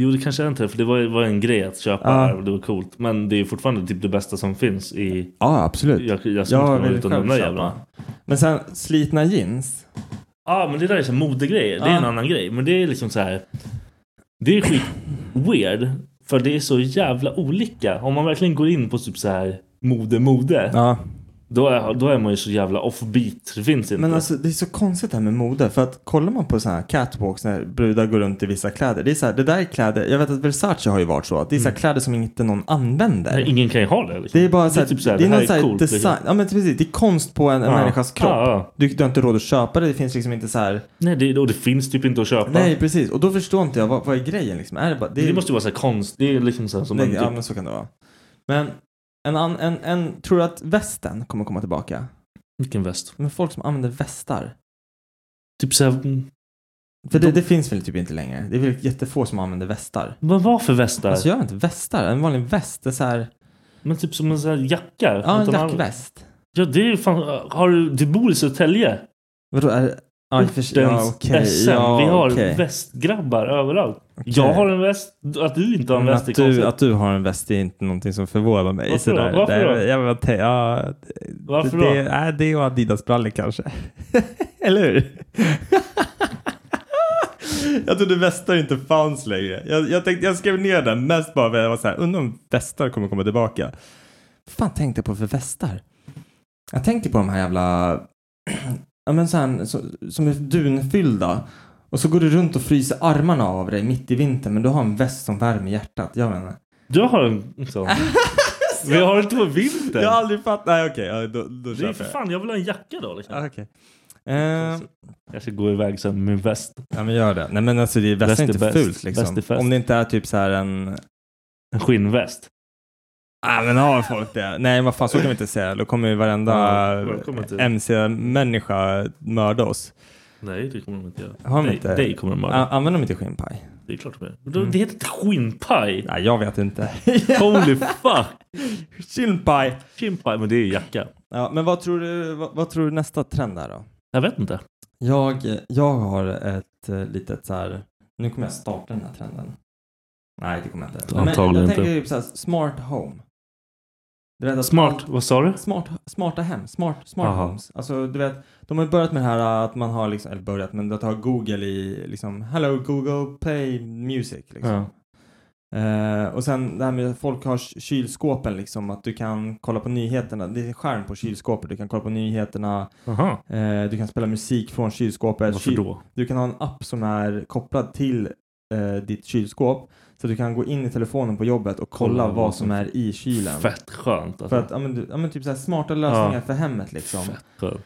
[SPEAKER 5] Jo, det kanske är en trend. För det var, var en grej att köpa
[SPEAKER 2] Ja.
[SPEAKER 5] här och det var coolt. Men det är fortfarande typ det bästa som finns i...
[SPEAKER 2] Ja, absolut.
[SPEAKER 5] Jag, jag skulle inte kunna vara
[SPEAKER 2] vill
[SPEAKER 5] utan de där
[SPEAKER 2] själv
[SPEAKER 5] jävlarna.
[SPEAKER 2] köpa. Men sen slitna jeans.
[SPEAKER 5] Ja, men det där är så här modegrejer. Det är
[SPEAKER 2] Ja.
[SPEAKER 5] en annan grej. Men det är liksom så här. Det är skit weird. För det är så jävla olika. Om man verkligen går in på typ så här mode, mode. Då, är, då är man ju så jävla offbeat. Typ Det finns inte.
[SPEAKER 2] Men alltså det är så konstigt det här med mode. För att kollar man på sådana här catwalks när brudar går runt i vissa kläder. Det är så här, det där är kläder. Jag vet att Versace har ju varit så. Att det är så här
[SPEAKER 5] Mm.
[SPEAKER 2] kläder som inte någon använder.
[SPEAKER 5] Nej, ingen kan ju ha det. Liksom.
[SPEAKER 2] Det är bara så här, det är,
[SPEAKER 5] typ så här,
[SPEAKER 2] det
[SPEAKER 5] det här
[SPEAKER 2] någon
[SPEAKER 5] är
[SPEAKER 2] så här
[SPEAKER 5] coolt,
[SPEAKER 2] design.
[SPEAKER 5] liksom.
[SPEAKER 2] Ja men precis, det är konst på en, en
[SPEAKER 5] Ja.
[SPEAKER 2] människas kropp.
[SPEAKER 5] Ja, ja.
[SPEAKER 2] Du, du har inte råd att köpa det. Det finns liksom inte så här.
[SPEAKER 5] Nej, det, och det finns typ inte att köpa.
[SPEAKER 2] Nej precis, och då förstår inte jag vad, vad är grejen liksom. Är det, bara,
[SPEAKER 5] det, måste ju vara så här konst. Det är liksom så här som
[SPEAKER 2] Nej,
[SPEAKER 5] en
[SPEAKER 2] ja, men så kan det vara. Men en, an- en, en, tror du att västen kommer komma tillbaka?
[SPEAKER 5] Vilken väst?
[SPEAKER 2] Men folk som använder västar.
[SPEAKER 5] Typ så här,
[SPEAKER 2] För det,
[SPEAKER 5] De-
[SPEAKER 2] det finns väl typ inte längre? Det är väl jättefå som använder västar?
[SPEAKER 5] Vad var för västar?
[SPEAKER 2] Alltså jag har inte västar. En vanlig väst är så här...
[SPEAKER 5] Men typ som en sån här jacka.
[SPEAKER 2] Ja,
[SPEAKER 5] Att
[SPEAKER 2] en
[SPEAKER 5] de har-
[SPEAKER 2] jackväst.
[SPEAKER 5] Ja, det är ju fan... Har du... Du bor i Södertälje.
[SPEAKER 2] Vadå, är det... Ja, i och för sig- ja,
[SPEAKER 5] Ortens
[SPEAKER 2] okej.
[SPEAKER 5] SM.
[SPEAKER 2] Ja,
[SPEAKER 5] Vi har
[SPEAKER 2] okej.
[SPEAKER 5] västgrabbar överallt. Jag har en väst. Att du inte har en
[SPEAKER 2] Men
[SPEAKER 5] väst är
[SPEAKER 2] att, du,
[SPEAKER 5] konstigt.
[SPEAKER 2] att du har en väst är inte någonting som förvånar mig.
[SPEAKER 5] Varför då?
[SPEAKER 2] sådär.
[SPEAKER 5] Varför
[SPEAKER 2] det, är-
[SPEAKER 5] då?
[SPEAKER 2] Jag, vet inte, ja, det-
[SPEAKER 5] Varför
[SPEAKER 2] det,
[SPEAKER 5] då?
[SPEAKER 2] Det, nej, det är ju Adidas-brallor kanske. Eller hur? jag trodde västar inte fanns längre. Jag, jag, tänkte, jag skrev ner den mest bara för att jag var såhär, undrar om västar kommer komma tillbaka. Vad fan tänkte jag på för västar? Jag tänker på de här jävla, ja men så här, så, som är dunfyllda. Och så går du runt och fryser armarna av dig mitt i vintern men du har en väst som värmer hjärtat. Jag vet inte.
[SPEAKER 5] Jag har en sån. Vi har inte på vintern.
[SPEAKER 2] Jag har aldrig fattat. Nej okej, ja, då, då
[SPEAKER 5] Det är
[SPEAKER 2] köper
[SPEAKER 5] för
[SPEAKER 2] jag.
[SPEAKER 5] fan, jag vill ha en jacka då liksom.
[SPEAKER 2] Ja, okej. Ehm,
[SPEAKER 5] Jag ska gå iväg sen med väst.
[SPEAKER 2] ja men gör det. Nej men alltså det är, väst
[SPEAKER 5] Väst
[SPEAKER 2] är
[SPEAKER 5] är
[SPEAKER 2] inte
[SPEAKER 5] bäst.
[SPEAKER 2] fult liksom.
[SPEAKER 5] Väst är fest.
[SPEAKER 2] Om det inte är typ så här en...
[SPEAKER 5] En skinnväst.
[SPEAKER 2] Nej men har folk det? Nej vad fan så kan vi inte säga. Då kommer ju varenda
[SPEAKER 5] Ja, välkommen till-
[SPEAKER 2] MC-människa mörda oss.
[SPEAKER 5] Nej, det kommer de inte göra.
[SPEAKER 2] Har de
[SPEAKER 5] dig,
[SPEAKER 2] inte?
[SPEAKER 5] dig kommer de
[SPEAKER 2] A-
[SPEAKER 5] mörda.
[SPEAKER 2] Använder de inte skinnpaj?
[SPEAKER 5] Det är klart de gör. Men då- Det heter inte skinnpaj.
[SPEAKER 2] Nej jag vet inte.
[SPEAKER 5] Holy fuck.
[SPEAKER 2] Skinnpaj.
[SPEAKER 5] Skinnpaj, men det är ju jacka.
[SPEAKER 2] Ja, men vad tror du, vad, vad tror du nästa trend är då?
[SPEAKER 5] Jag vet inte.
[SPEAKER 2] Jag, jag har ett eh, litet så här, nu kommer jag starta den här trenden. Nej, det kommer jag inte. Men
[SPEAKER 5] Antagligen
[SPEAKER 2] jag tänker
[SPEAKER 5] inte.
[SPEAKER 2] typ så här, smart home. Du vet att
[SPEAKER 5] Smart,
[SPEAKER 2] allt-
[SPEAKER 5] vad sa du?
[SPEAKER 2] Smart, smarta hem, smart, smart
[SPEAKER 5] Aha.
[SPEAKER 2] homes. Alltså du vet, de har ju börjat med det här att man har liksom, eller börjat, men att ha Google i liksom, hello Google, play music liksom.
[SPEAKER 5] Ja.
[SPEAKER 2] Eh, och sen det här med att folk har k- kylskåpen liksom, att du kan kolla på nyheterna. Det är en skärm på kylskåpet, du kan kolla på nyheterna,
[SPEAKER 5] Aha.
[SPEAKER 2] eh, du kan spela musik från kylskåpet.
[SPEAKER 5] Varför
[SPEAKER 2] Kyl-
[SPEAKER 5] då?
[SPEAKER 2] Du kan ha en app som är kopplad till eh, ditt kylskåp. Så du kan gå in i telefonen på jobbet och kolla vad som är i kylen.
[SPEAKER 5] Fett skönt.
[SPEAKER 2] För
[SPEAKER 5] Alltså.
[SPEAKER 2] att, ja men, du, ja, men typ så här smarta lösningar
[SPEAKER 5] Ja.
[SPEAKER 2] för hemmet liksom.
[SPEAKER 5] Fett skönt.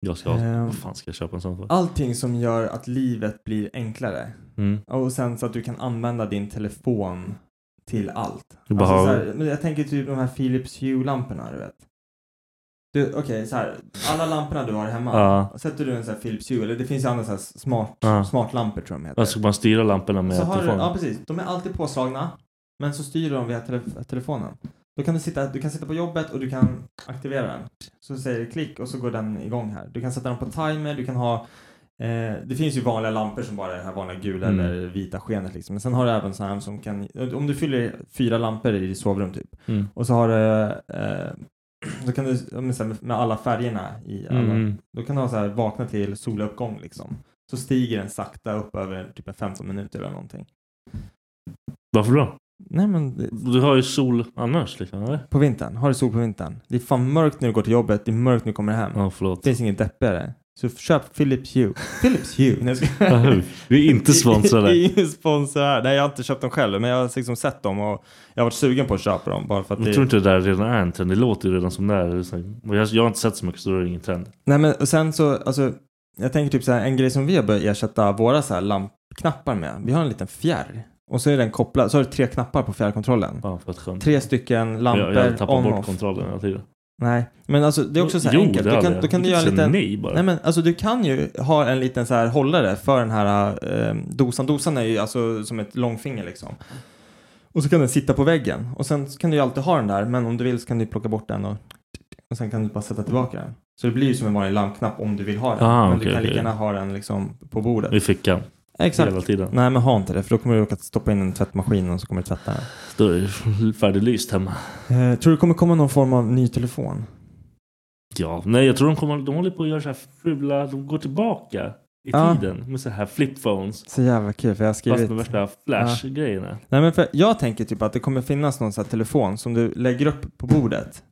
[SPEAKER 5] Jag ska,
[SPEAKER 2] Ehm.
[SPEAKER 5] vad fan ska jag köpa en sån för?
[SPEAKER 2] Allting som gör att livet blir enklare.
[SPEAKER 5] Mm.
[SPEAKER 2] Och sen så att du kan använda din telefon till allt.
[SPEAKER 5] Du
[SPEAKER 2] Alltså, så
[SPEAKER 5] behöver-
[SPEAKER 2] här, men jag tänker typ de här Philips Hue-lamporna du vet. Du, Okej, så här. Alla lamporna du har hemma.
[SPEAKER 5] Ja.
[SPEAKER 2] Sätter du en sån här Philips Hue, eller det finns ju andra så här smart,
[SPEAKER 5] Ja.
[SPEAKER 2] smartlampor tror jag de heter.
[SPEAKER 5] Alltså man styra lamporna med
[SPEAKER 2] så har du,
[SPEAKER 5] telefonen.
[SPEAKER 2] ja precis, de är alltid påslagna. Men så styr de via tele- telefonen. Då kan du, sitta, du kan sitta på jobbet och du kan aktivera den. Så säger det klick och så går den igång här. Du kan sätta den på timer, du kan ha Eh, det finns ju vanliga lampor som bara är det här vanliga gula
[SPEAKER 5] Mm.
[SPEAKER 2] eller vita skenet liksom. Men sen har du även sådana här som kan, om du fyller fyra lampor i ditt sovrum typ.
[SPEAKER 5] Mm.
[SPEAKER 2] Och så har du, eh, då kan du, ja, men så här med alla färgerna i alla,
[SPEAKER 5] Mm.
[SPEAKER 2] då kan du ha så här vakna till soluppgång liksom. Så stiger den sakta upp över typ en 15 minuter eller någonting.
[SPEAKER 5] Varför då?
[SPEAKER 2] Nej men det-
[SPEAKER 5] Du har ju sol annars liksom, eller?
[SPEAKER 2] på vintern, har du sol på vintern? Det är fan mörkt när du går till jobbet, det är mörkt när du kommer hem.
[SPEAKER 5] Ja, förlåt.
[SPEAKER 2] Det finns inget deppigare. Så köp Philips Hue. Philips Hue? Nej, jag skojar.
[SPEAKER 5] Aha, Vi är inte sponsrade.
[SPEAKER 2] Vi är inte sponsrade. Nej, jag har inte köpt dem själv, men jag har liksom sett dem och jag har varit sugen på att köpa dem bara för att
[SPEAKER 5] Jag
[SPEAKER 2] det...
[SPEAKER 5] tror inte det där redan är en trend. Det låter ju redan som det är. Det är. så här- och Jag, jag har inte sett så mycket så det är ingen trend.
[SPEAKER 2] Nej, men och sen så, alltså, jag tänker typ så här, en grej som vi har börjat ersätta våra så här lampknappar med. Vi har en liten fjärr och så är den kopplad, så har du tre knappar på fjärrkontrollen.
[SPEAKER 5] Ja, för att skönt.
[SPEAKER 2] Tre stycken
[SPEAKER 5] jag, jag
[SPEAKER 2] lampor,
[SPEAKER 5] tappar
[SPEAKER 2] on
[SPEAKER 5] bort
[SPEAKER 2] off.
[SPEAKER 5] kontrollen hela tiden.
[SPEAKER 2] Nej, men alltså det är också så här
[SPEAKER 5] Jo,
[SPEAKER 2] enkelt.
[SPEAKER 5] det
[SPEAKER 2] Du
[SPEAKER 5] hade
[SPEAKER 2] kan,
[SPEAKER 5] jag.
[SPEAKER 2] då kan du
[SPEAKER 5] Jag
[SPEAKER 2] göra
[SPEAKER 5] kan
[SPEAKER 2] en
[SPEAKER 5] säga
[SPEAKER 2] liten...
[SPEAKER 5] nej bara.
[SPEAKER 2] Nej men alltså du kan ju ha en liten så här hållare för den här eh, dosan. Dosan är ju alltså som ett långfinger liksom. Och så kan den sitta på väggen. Och sen kan du ju alltid ha den där. Men om du vill så kan du plocka bort den och och sen kan du bara sätta tillbaka den. Så det blir ju som en vanlig larmknapp om du vill ha den.
[SPEAKER 5] Ah,
[SPEAKER 2] men
[SPEAKER 5] okej,
[SPEAKER 2] du kan
[SPEAKER 5] okej.
[SPEAKER 2] lika gärna ha den liksom på bordet.
[SPEAKER 5] I fickan.
[SPEAKER 2] Exakt.
[SPEAKER 5] Hela tiden.
[SPEAKER 2] Nej, men ha inte det för då kommer du råka stoppa in en tvättmaskin och så kommer du tvätta den.
[SPEAKER 5] Då är det färdiglyst hemma.
[SPEAKER 2] Eh, tror du det kommer komma någon form av ny telefon?
[SPEAKER 5] Ja, nej jag tror de, kommer, de håller på att göra så här fula, de går tillbaka i
[SPEAKER 2] Ja.
[SPEAKER 5] tiden med så här flip phones.
[SPEAKER 2] Så jävla kul för jag har skrivit...
[SPEAKER 5] Fast med värsta flash-grejerna.
[SPEAKER 2] Ja. Nej men för jag tänker typ att det kommer finnas någon sån här telefon som du lägger upp på bordet.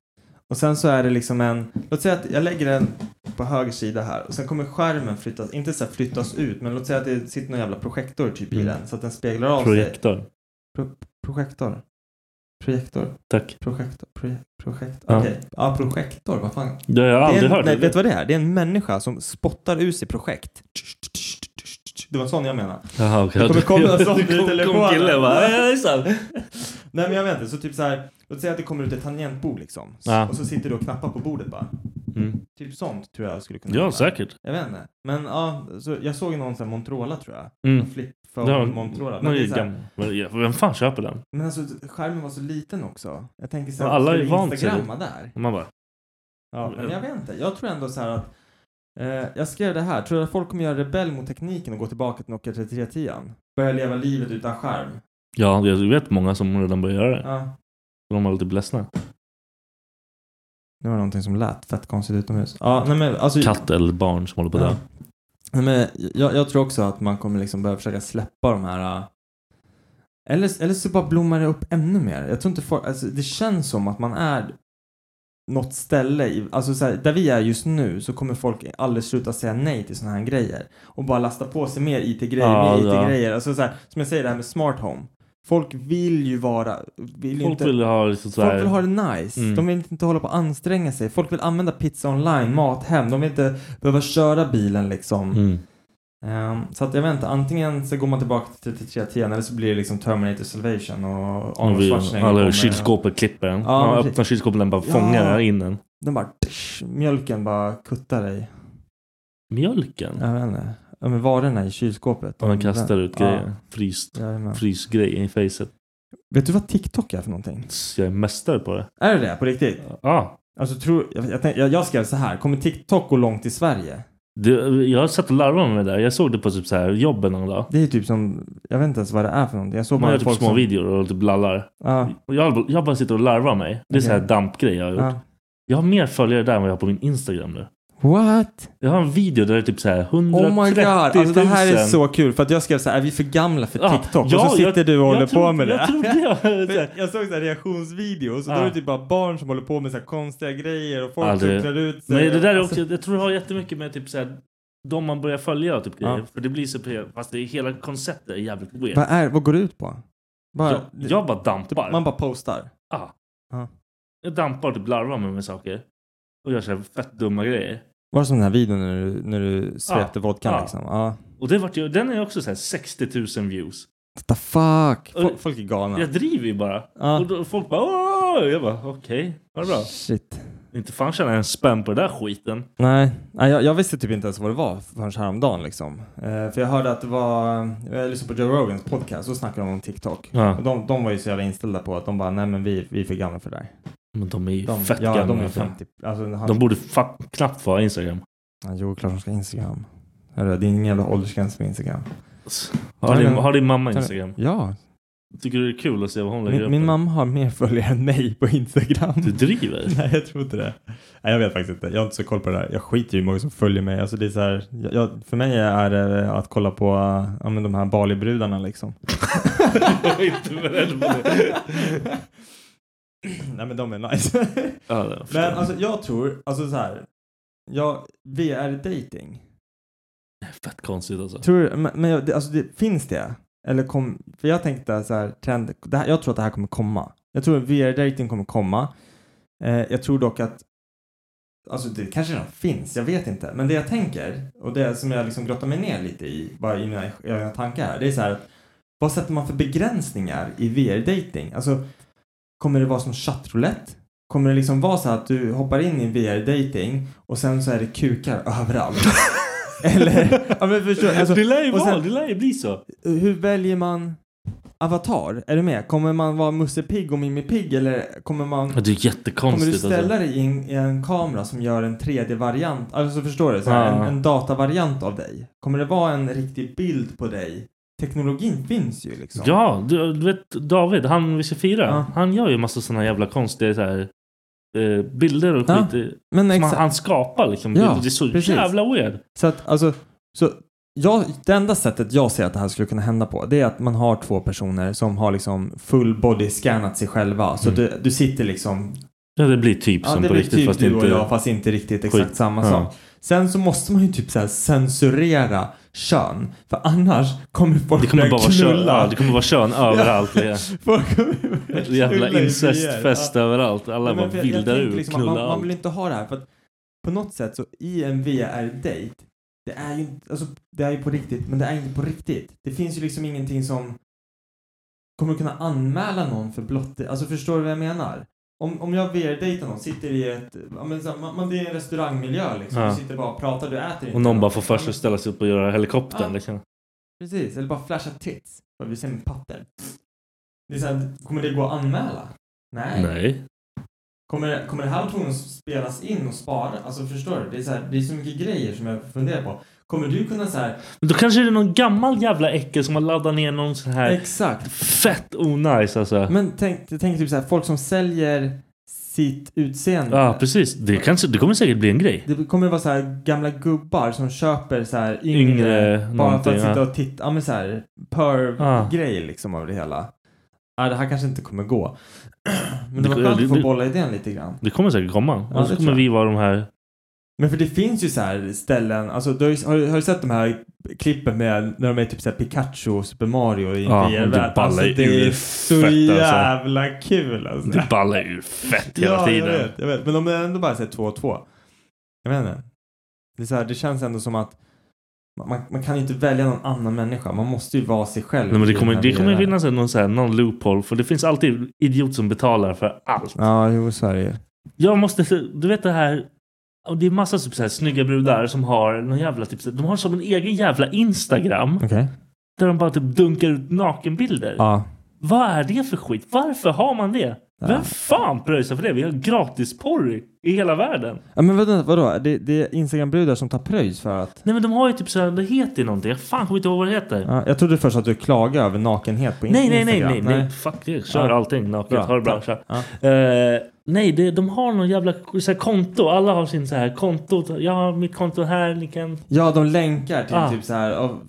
[SPEAKER 2] Och sen så är det liksom en, låt säga att jag lägger den på höger sida här och sen kommer skärmen flyttas, inte så här flyttas ut men låt säga att det sitter någon jävla projektor typ i
[SPEAKER 5] Mm.
[SPEAKER 2] den så att den speglar av sig.
[SPEAKER 5] Projektor.
[SPEAKER 2] Pro- projektor. Projektor.
[SPEAKER 5] Tack.
[SPEAKER 2] Projektor. Pro- projekt.
[SPEAKER 5] Ja.
[SPEAKER 2] Okej. Ja, projektor. Vad fan.
[SPEAKER 5] Det har jag
[SPEAKER 2] är
[SPEAKER 5] aldrig
[SPEAKER 2] en,
[SPEAKER 5] hört.
[SPEAKER 2] Nej, vet du vad det är? Det är en människa som spottar ur sig projekt. Det var sån jag menar.
[SPEAKER 5] Jaha, okej.
[SPEAKER 2] Det kommer komma en sån
[SPEAKER 5] Det kom-
[SPEAKER 2] i
[SPEAKER 5] kom
[SPEAKER 2] telefonen.
[SPEAKER 5] killen bara, "Ja, hejsan."
[SPEAKER 2] Nej men jag vet inte, så typ så här. Låt säga att det kommer ut ett tangentbord liksom. S-
[SPEAKER 5] Ja.
[SPEAKER 2] Och så sitter du och knappar på bordet bara.
[SPEAKER 5] Mm.
[SPEAKER 2] Typ sånt tror jag skulle kunna
[SPEAKER 5] Ja,
[SPEAKER 2] vara.
[SPEAKER 5] säkert.
[SPEAKER 2] Jag vet inte. Men ja, så jag såg någon sån här Motorola tror jag.
[SPEAKER 5] Mm.
[SPEAKER 2] En Flip
[SPEAKER 5] Ja,
[SPEAKER 2] phone Motorola. Men
[SPEAKER 5] någon
[SPEAKER 2] det är så här-
[SPEAKER 5] gam- men, ja, Vem fan köper den?
[SPEAKER 2] Men alltså skärmen var så liten också. Jag tänker så här,
[SPEAKER 5] Alla
[SPEAKER 2] ska
[SPEAKER 5] är
[SPEAKER 2] vi
[SPEAKER 5] vant sig
[SPEAKER 2] instagramma där?
[SPEAKER 5] Och Man bara,
[SPEAKER 2] Ja, men jag vet inte. Jag tror ändå så här att eh, jag skrev det här. Tror du att folk kommer göra rebell mot tekniken och gå tillbaka till Nokia 3310? Börja leva livet utan skärm?
[SPEAKER 5] ja, jag vet många som redan börjar göra det.
[SPEAKER 2] Ja.
[SPEAKER 5] De var lite ledsna.
[SPEAKER 2] Det var någonting som lät fett konstigt utomhus. Ja, nej men alltså.
[SPEAKER 5] Katt eller barn som håller på
[SPEAKER 2] Ja.
[SPEAKER 5] där.
[SPEAKER 2] Nej, men jag, jag tror också att man kommer liksom börja försöka släppa de här... äh, Eller, eller så bara blommar det upp ännu mer. Jag tror inte folk, alltså, det känns som att man är något ställe, i, alltså så här, där vi är just nu så kommer folk aldrig sluta säga nej till sådana här grejer. Och bara lasta på sig mer IT-grejer,
[SPEAKER 5] Ja,
[SPEAKER 2] mer
[SPEAKER 5] ja.
[SPEAKER 2] IT-grejer. Alltså så här, som jag säger det här med smart home. Folk vill ju vara, vill ju
[SPEAKER 5] Folk
[SPEAKER 2] inte...
[SPEAKER 5] vill ha liksom så här-
[SPEAKER 2] Folk vill ha det nice.
[SPEAKER 5] Mm.
[SPEAKER 2] De vill inte hålla på och anstränga sig. Folk vill använda pizza online, mathem. De vill inte behöva köra bilen liksom.
[SPEAKER 5] Mm.
[SPEAKER 2] Ehm, så att jag vet inte, antingen så går man tillbaka till 3310 eller så blir det liksom Terminator Salvation och
[SPEAKER 5] Och
[SPEAKER 2] Arnold
[SPEAKER 5] vi-
[SPEAKER 2] Schwarzenegger.
[SPEAKER 5] Alla
[SPEAKER 2] kommer-
[SPEAKER 5] kylskåpet klipper den.
[SPEAKER 2] Ja,
[SPEAKER 5] Man
[SPEAKER 2] precis.
[SPEAKER 5] öppnar kylskåpet och den bara fångar
[SPEAKER 2] Ja.
[SPEAKER 5] in den.
[SPEAKER 2] Den bara, tsch, mjölken bara kuttar dig.
[SPEAKER 5] Mjölken?
[SPEAKER 2] Jag vet inte. Ja, men varorna i kylskåpet.
[SPEAKER 5] Och den kastar ut
[SPEAKER 2] Ja.
[SPEAKER 5] grejer. Fryst.
[SPEAKER 2] Jajamän.
[SPEAKER 5] Frysgrejer i facet.
[SPEAKER 2] Vet du vad TikTok är för någonting?
[SPEAKER 5] Jag är mästare på det.
[SPEAKER 2] Är det det? På riktigt?
[SPEAKER 5] Ja.
[SPEAKER 2] Alltså, tror, jag, jag, tänk- jag, jag skrev så här, kommer TikTok gå långt i Sverige?
[SPEAKER 5] Det, jag har satt och larvat mig med det där. Jag såg det på typ så här jobben någon dag.
[SPEAKER 2] Det är typ som, jag vet inte ens vad det är för någonting. Jag såg
[SPEAKER 5] Man
[SPEAKER 2] bara
[SPEAKER 5] gör typ
[SPEAKER 2] folk
[SPEAKER 5] små
[SPEAKER 2] som...
[SPEAKER 5] videor och typ lallar.
[SPEAKER 2] Ja.
[SPEAKER 5] Och jag, jag bara sitter och larvar mig. Det är så här
[SPEAKER 2] Okej.
[SPEAKER 5] dampgrej jag har gjort.
[SPEAKER 2] Ja.
[SPEAKER 5] Jag har mer följare där än vad jag har på min Instagram nu.
[SPEAKER 2] What?
[SPEAKER 5] Jag har en video där det är typ så här 130
[SPEAKER 2] Oh my god, alltså det här är
[SPEAKER 5] 000.
[SPEAKER 2] så kul för att jag skrev så här, är vi för gamla för
[SPEAKER 5] Ja,
[SPEAKER 2] TikTok?
[SPEAKER 5] ja,
[SPEAKER 2] och så sitter
[SPEAKER 5] jag-
[SPEAKER 2] du och
[SPEAKER 5] jag
[SPEAKER 2] håller
[SPEAKER 5] trodde-
[SPEAKER 2] på med
[SPEAKER 5] jag
[SPEAKER 2] det.
[SPEAKER 5] trodde jag-
[SPEAKER 2] För jag såg såhär reaktionsvideos och då
[SPEAKER 5] Ja.
[SPEAKER 2] är det typ bara barn som håller på med så här konstiga grejer och folk
[SPEAKER 5] Ja,
[SPEAKER 2] som
[SPEAKER 5] det-
[SPEAKER 2] klär ut sig.
[SPEAKER 5] Men det där är
[SPEAKER 2] Alltså,
[SPEAKER 5] också, jag tror det har jättemycket med typ så här, de man börjar följa typ grejer. För det blir så pe- fast det är hela konceptet är jävligt weird.
[SPEAKER 2] Vad, är, vad går det ut på? Bara,
[SPEAKER 5] jag, jag bara dampar.
[SPEAKER 2] Man bara postar.
[SPEAKER 5] Ja.
[SPEAKER 2] Ja.
[SPEAKER 5] Jag dampar och typ larvar mig med saker. Och gör så här fett dumma grejer.
[SPEAKER 2] Var det som den här videon när du, när du svepte vodkan
[SPEAKER 5] Ja.
[SPEAKER 2] liksom? Ja.
[SPEAKER 5] Och det vart ju, den är också så här 60 000 views.
[SPEAKER 2] The fuck! Folk,
[SPEAKER 5] Och-
[SPEAKER 2] folk är galna.
[SPEAKER 5] Jag driver ju bara.
[SPEAKER 2] Ja.
[SPEAKER 5] Och då, folk bara åh! Jag bara okej, vad bra.
[SPEAKER 2] Shit.
[SPEAKER 5] Inte fan tjänar jag en spänn på den där skiten.
[SPEAKER 2] Nej, Nej jag, jag visste typ inte ens vad det var förrän häromdagen liksom. Eh, för jag hörde att det var, jag lyssnade på Joe Rogans podcast och snackade de om TikTok.
[SPEAKER 5] Ja.
[SPEAKER 2] Och de, de var ju så jävla inställda på att de bara, nej men vi, vi är för gamla för det där.
[SPEAKER 5] Men de är ju
[SPEAKER 2] De-
[SPEAKER 5] fett
[SPEAKER 2] ja,
[SPEAKER 5] gamla.
[SPEAKER 2] de är 50 alltså, han-
[SPEAKER 5] de borde fa- knappt vara Instagram.
[SPEAKER 2] Ja, jo, klart de ska ha Instagram. Hörru, det är ingen jävla åldersgräns på Instagram.
[SPEAKER 5] Har,
[SPEAKER 2] Nej,
[SPEAKER 5] din,
[SPEAKER 2] men-
[SPEAKER 5] har din mamma
[SPEAKER 2] Ta det-
[SPEAKER 5] Instagram?
[SPEAKER 2] Ja.
[SPEAKER 5] Tycker du det är kul att se vad hon lägger
[SPEAKER 2] Min,
[SPEAKER 5] upp?
[SPEAKER 2] min mamma har mer följare än mig på Instagram.
[SPEAKER 5] Du driver?
[SPEAKER 2] Nej, jag tror inte det. Nej, jag vet faktiskt inte. Jag har inte så koll på det där. Jag skiter ju i hur många som följer mig. Alltså, det är så här, jag, jag, för mig är det att kolla på ja, men de här Bali-brudarna liksom.
[SPEAKER 5] Jag är inte beredd på det.
[SPEAKER 2] Nej, men de är nice.
[SPEAKER 5] Ja, det förstår
[SPEAKER 2] men
[SPEAKER 5] jag.
[SPEAKER 2] alltså, jag tror, alltså så här. Ja, VR-dating.
[SPEAKER 5] Fett konstigt alltså.
[SPEAKER 2] Tror du, men, men jag- det, alltså det, finns det? Eller kom, för jag tänkte så här, trend, det här, jag tror att det här kommer komma. Jag tror att VR-dating kommer komma. Eh, jag tror dock att, alltså det kanske redan finns, jag vet inte. Men det jag tänker, och det som jag liksom grottar mig ner lite i, bara i mina egna tankar här, det är så här, att vad sätter man för begränsningar i VR-dating? Alltså, kommer det vara som chattroulette? Kommer det liksom vara så här att du hoppar in i VR-dating och sen så är det kukar överallt? Eller, ja men förstår alltså,
[SPEAKER 5] det lär ju
[SPEAKER 2] och
[SPEAKER 5] vara,
[SPEAKER 2] sen-
[SPEAKER 5] det lär ju bli så.
[SPEAKER 2] hur väljer man Avatar, är du med? Kommer man vara Musse Pigg och Mimmi Pigg eller kommer man...
[SPEAKER 5] Ja, det är
[SPEAKER 2] Kommer du
[SPEAKER 5] jättekonstigt.
[SPEAKER 2] ställa
[SPEAKER 5] alltså.
[SPEAKER 2] dig i en, i en kamera som gör en 3D-variant? Alltså förstår du? Så här,
[SPEAKER 5] Ja.
[SPEAKER 2] en, en datavariant av dig. Kommer det vara en riktig bild på dig? Teknologin finns ju liksom.
[SPEAKER 5] Ja, du, du vet David, han vi ska fira.
[SPEAKER 2] Ja.
[SPEAKER 5] Han gör ju massa sådana jävla konstiga så här, eh, bilder och
[SPEAKER 2] Ja,
[SPEAKER 5] skit.
[SPEAKER 2] men
[SPEAKER 5] som han,
[SPEAKER 2] exakt.
[SPEAKER 5] han skapar liksom.
[SPEAKER 2] Ja,
[SPEAKER 5] det, det är så
[SPEAKER 2] precis.
[SPEAKER 5] jävla weird.
[SPEAKER 2] Så att alltså, så jag, det enda sättet jag ser att det här skulle kunna hända på det är att man har två personer som har liksom full body scannat sig själva. Så
[SPEAKER 5] Mm.
[SPEAKER 2] du, du sitter liksom
[SPEAKER 5] Ja, det blir typ som
[SPEAKER 2] det
[SPEAKER 5] på
[SPEAKER 2] blir
[SPEAKER 5] riktigt.
[SPEAKER 2] typ
[SPEAKER 5] fast
[SPEAKER 2] du
[SPEAKER 5] inte...
[SPEAKER 2] och jag fast inte riktigt exakt
[SPEAKER 5] Skit.
[SPEAKER 2] samma
[SPEAKER 5] Ja.
[SPEAKER 2] sak. Sen så måste man ju typ så här censurera kön. För annars kommer folk
[SPEAKER 5] Det kommer
[SPEAKER 2] börja
[SPEAKER 5] bara vara kön,
[SPEAKER 2] knulla.
[SPEAKER 5] ja, det kommer vara kön överallt. Det är.
[SPEAKER 2] Folk kommer börja knulla i
[SPEAKER 5] Jävla
[SPEAKER 2] VR.
[SPEAKER 5] incestfest
[SPEAKER 2] Ja.
[SPEAKER 5] överallt. Alla
[SPEAKER 2] Nej, men
[SPEAKER 5] bara
[SPEAKER 2] för jag- jag
[SPEAKER 5] vildar
[SPEAKER 2] tänker
[SPEAKER 5] ur,
[SPEAKER 2] liksom att
[SPEAKER 5] knulla
[SPEAKER 2] man, man vill
[SPEAKER 5] allt.
[SPEAKER 2] inte ha det här för att på något sätt så i en VR-date, det är ju inte, alltså det är ju på riktigt, men det är inte på riktigt. Det finns ju liksom ingenting som kommer du kunna anmäla någon för blott, alltså förstår du vad jag menar? Om, om jag VR-dejtar någon, sitter i ett, ja, men, så här, man, man, det är en restaurangmiljö liksom,
[SPEAKER 5] Ja.
[SPEAKER 2] du sitter bara och pratar, du äter inte.
[SPEAKER 5] Och någon bara får
[SPEAKER 2] något.
[SPEAKER 5] för sig att ställa sig upp och göra helikoptern.
[SPEAKER 2] Ja.
[SPEAKER 5] Liksom.
[SPEAKER 2] Precis, eller bara flasha tits, vad vi ser med papper. Det är så här, kommer det gå att anmäla? Nej.
[SPEAKER 5] Nej.
[SPEAKER 2] Kommer, kommer det här versionen spelas in och sparas? Alltså förstår du? Det är, så här, det är så mycket grejer som jag funderar på. Kommer du kunna så här...
[SPEAKER 5] Men då kanske det är någon gammal jävla äckel som har laddat ner någon sån här...
[SPEAKER 2] Exakt.
[SPEAKER 5] Fett onajs alltså.
[SPEAKER 2] Men tänk, tänk typ så här, folk som säljer sitt utseende.
[SPEAKER 5] Ja, precis. Det, kanske, det kommer säkert bli en grej.
[SPEAKER 2] Det kommer vara så här gamla gubbar som köper så här yngre,
[SPEAKER 5] Yngre
[SPEAKER 2] bara
[SPEAKER 5] någonting,
[SPEAKER 2] för att sitta
[SPEAKER 5] ja. Ah.
[SPEAKER 2] och titta, ja men så här perv-grej liksom av det hela. Ja, det här kanske inte kommer gå. Men det var skönt att få bolla idén lite grann.
[SPEAKER 5] Det kommer säkert komma.
[SPEAKER 2] Ja,
[SPEAKER 5] och så
[SPEAKER 2] det
[SPEAKER 5] kommer
[SPEAKER 2] tror jag.
[SPEAKER 5] vi vara de här...
[SPEAKER 2] Men för det finns ju så här ställen, alltså du har, ju, har, du- har du sett de här klippen med när de är typ så här Pikachu och Super Mario i en
[SPEAKER 5] Ja, och det
[SPEAKER 2] VR-värld?
[SPEAKER 5] ballar
[SPEAKER 2] Alltså
[SPEAKER 5] ju
[SPEAKER 2] det
[SPEAKER 5] ur
[SPEAKER 2] är så
[SPEAKER 5] fett, alltså.
[SPEAKER 2] jävla kul alltså.
[SPEAKER 5] Det ballar ur fett hela
[SPEAKER 2] ja,
[SPEAKER 5] tiden.
[SPEAKER 2] Jag vet, jag vet. Men de är ändå bara såhär 2 och 2. Jag vet inte. Det, är så här, det känns ändå som att man- man, man kan ju inte välja någon annan människa. Man måste ju vara sig själv.
[SPEAKER 5] Nej, men det
[SPEAKER 2] i
[SPEAKER 5] kommer,
[SPEAKER 2] den
[SPEAKER 5] det
[SPEAKER 2] här
[SPEAKER 5] kommer ju
[SPEAKER 2] VR-världen.
[SPEAKER 5] finnas någon, så här, någon loophole. För det finns alltid idiot som betalar för allt.
[SPEAKER 2] Ja, jo, så är det ju.
[SPEAKER 5] Jag måste... Du vet det här... och Det är massa typ, så här, snygga brudar som har någon jävla... Typ, så här- de har som en egen jävla Instagram.
[SPEAKER 2] Okej.
[SPEAKER 5] Där de bara typ dunkar ut nakenbilder.
[SPEAKER 2] Ja.
[SPEAKER 5] Vad är det för skit? Varför har man det? Vem fan pröjsar för det? Vi har gratis porr i hela världen.
[SPEAKER 2] ja. Men vadå? vadå? Det, det är Instagram-brudar som tar pröjs för att
[SPEAKER 5] Nej men de har ju typ såhär, det heter ju någonting. Jag fan kommer inte ihåg vad det heter.
[SPEAKER 2] Ja, jag trodde först att du klagade över nakenhet på in-
[SPEAKER 5] Nej, nej,
[SPEAKER 2] Instagram.
[SPEAKER 5] nej, nej, nej, Fuck det. Kör
[SPEAKER 2] Ja.
[SPEAKER 5] allting naket.
[SPEAKER 2] Bra,
[SPEAKER 5] Ha det bra.
[SPEAKER 2] bra.
[SPEAKER 5] Kör.
[SPEAKER 2] Ja.
[SPEAKER 5] Eh, nej, det, de har någon jävla så här, konto. Alla har sin så här konto. Jag har mitt konto här. Ni kan...
[SPEAKER 2] Ja, de länkar till
[SPEAKER 5] Ah.
[SPEAKER 2] typ så här, av-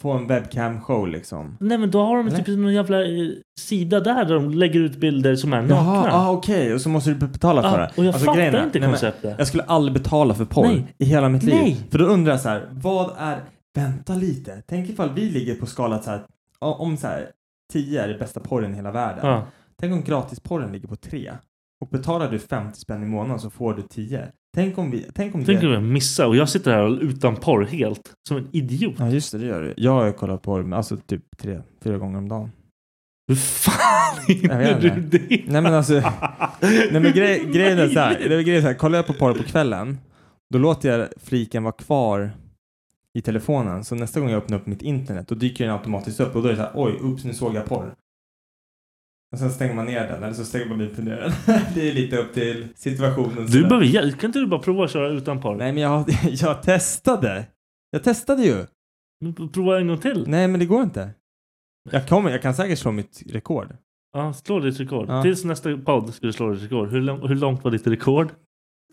[SPEAKER 2] få en webcam-show liksom.
[SPEAKER 5] Nej men då har de
[SPEAKER 2] Eller?
[SPEAKER 5] typ någon jävla eh, sida där, där de lägger ut bilder som är nakna.
[SPEAKER 2] Jaha, ah, okej. Och så måste du betala för
[SPEAKER 5] Ah,
[SPEAKER 2] det. Alltså,
[SPEAKER 5] och jag fattar
[SPEAKER 2] grejen
[SPEAKER 5] inte
[SPEAKER 2] men
[SPEAKER 5] konceptet.
[SPEAKER 2] Jag skulle aldrig betala för porr
[SPEAKER 5] Nej.
[SPEAKER 2] i hela mitt liv.
[SPEAKER 5] Nej.
[SPEAKER 2] För då undrar jag så här, vad är... Vänta lite. Tänk ifall vi ligger på skalat så här, o- om så här, 10 är det bästa porren i hela världen.
[SPEAKER 5] Ja.
[SPEAKER 2] Tänk om gratisporren ligger på 3. Och betalar du 50 spänn i månaden så får du 10. Tänk om vi... Tänk om
[SPEAKER 5] Tänk
[SPEAKER 2] det...
[SPEAKER 5] om jag missar och jag sitter här utan porr helt. Som en idiot.
[SPEAKER 2] Ja just det, det gör du. Jag har ju kollat porr med, alltså typ tre, fyra gånger om dagen.
[SPEAKER 5] Hur fan hinner du
[SPEAKER 2] inte.
[SPEAKER 5] det?
[SPEAKER 2] Nej men alltså, nej men grej, grejen är så här, det är grejen så här, kollar jag på porr på kvällen, då låter jag fliken vara kvar i telefonen. Så nästa gång jag öppnar upp mitt internet, då dyker den automatiskt upp och då är det så här, oj, ups, nu såg jag porr. Och sen stänger man ner den, eller så stänger man ut den. Det är lite upp till situationen.
[SPEAKER 5] Du behöver hjälp. Kan inte du bara prova att köra utan porr?
[SPEAKER 2] Nej men jag, jag testade. Jag testade ju.
[SPEAKER 5] Men p- Prova en gång till.
[SPEAKER 2] Nej men det går inte. Jag kommer, jag kan säkert slå mitt rekord.
[SPEAKER 5] Ja, slå ditt rekord.
[SPEAKER 2] Ja.
[SPEAKER 5] Tills nästa podd ska du slå ditt rekord. Hur, lång- hur långt var ditt rekord?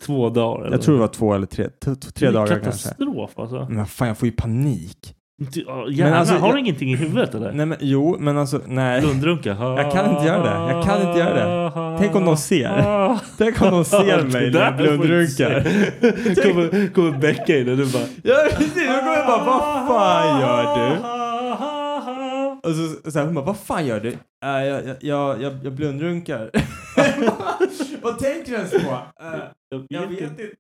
[SPEAKER 5] Två dagar? Eller?
[SPEAKER 2] Jag tror det var två eller tre, t- t- tre
[SPEAKER 5] Det är
[SPEAKER 2] dagar kanske.
[SPEAKER 5] Katastrof alltså.
[SPEAKER 2] Men fan jag får ju panik.
[SPEAKER 5] Du, ja, hjärnan,
[SPEAKER 2] alltså,
[SPEAKER 5] har du
[SPEAKER 2] jag-
[SPEAKER 5] ingenting i huvudet eller?
[SPEAKER 2] Nej men jo, men alltså nej.
[SPEAKER 5] Lundrunka.
[SPEAKER 2] Jag kan inte göra det. Jag kan inte göra det. Tänk om de ser. Tänk om de ser mig när jag blundrunkar.
[SPEAKER 5] kommer, kommer Becka in och du bara...
[SPEAKER 2] Ja precis, då kommer jag bara vad fan gör du? Och så, så här, hon bara vad fan gör du? Äh, jag, jag, jag, jag, jag blundrunkar. vad tänker du ens på? Äh,
[SPEAKER 5] Jag
[SPEAKER 2] jag
[SPEAKER 5] vet
[SPEAKER 2] vet inte.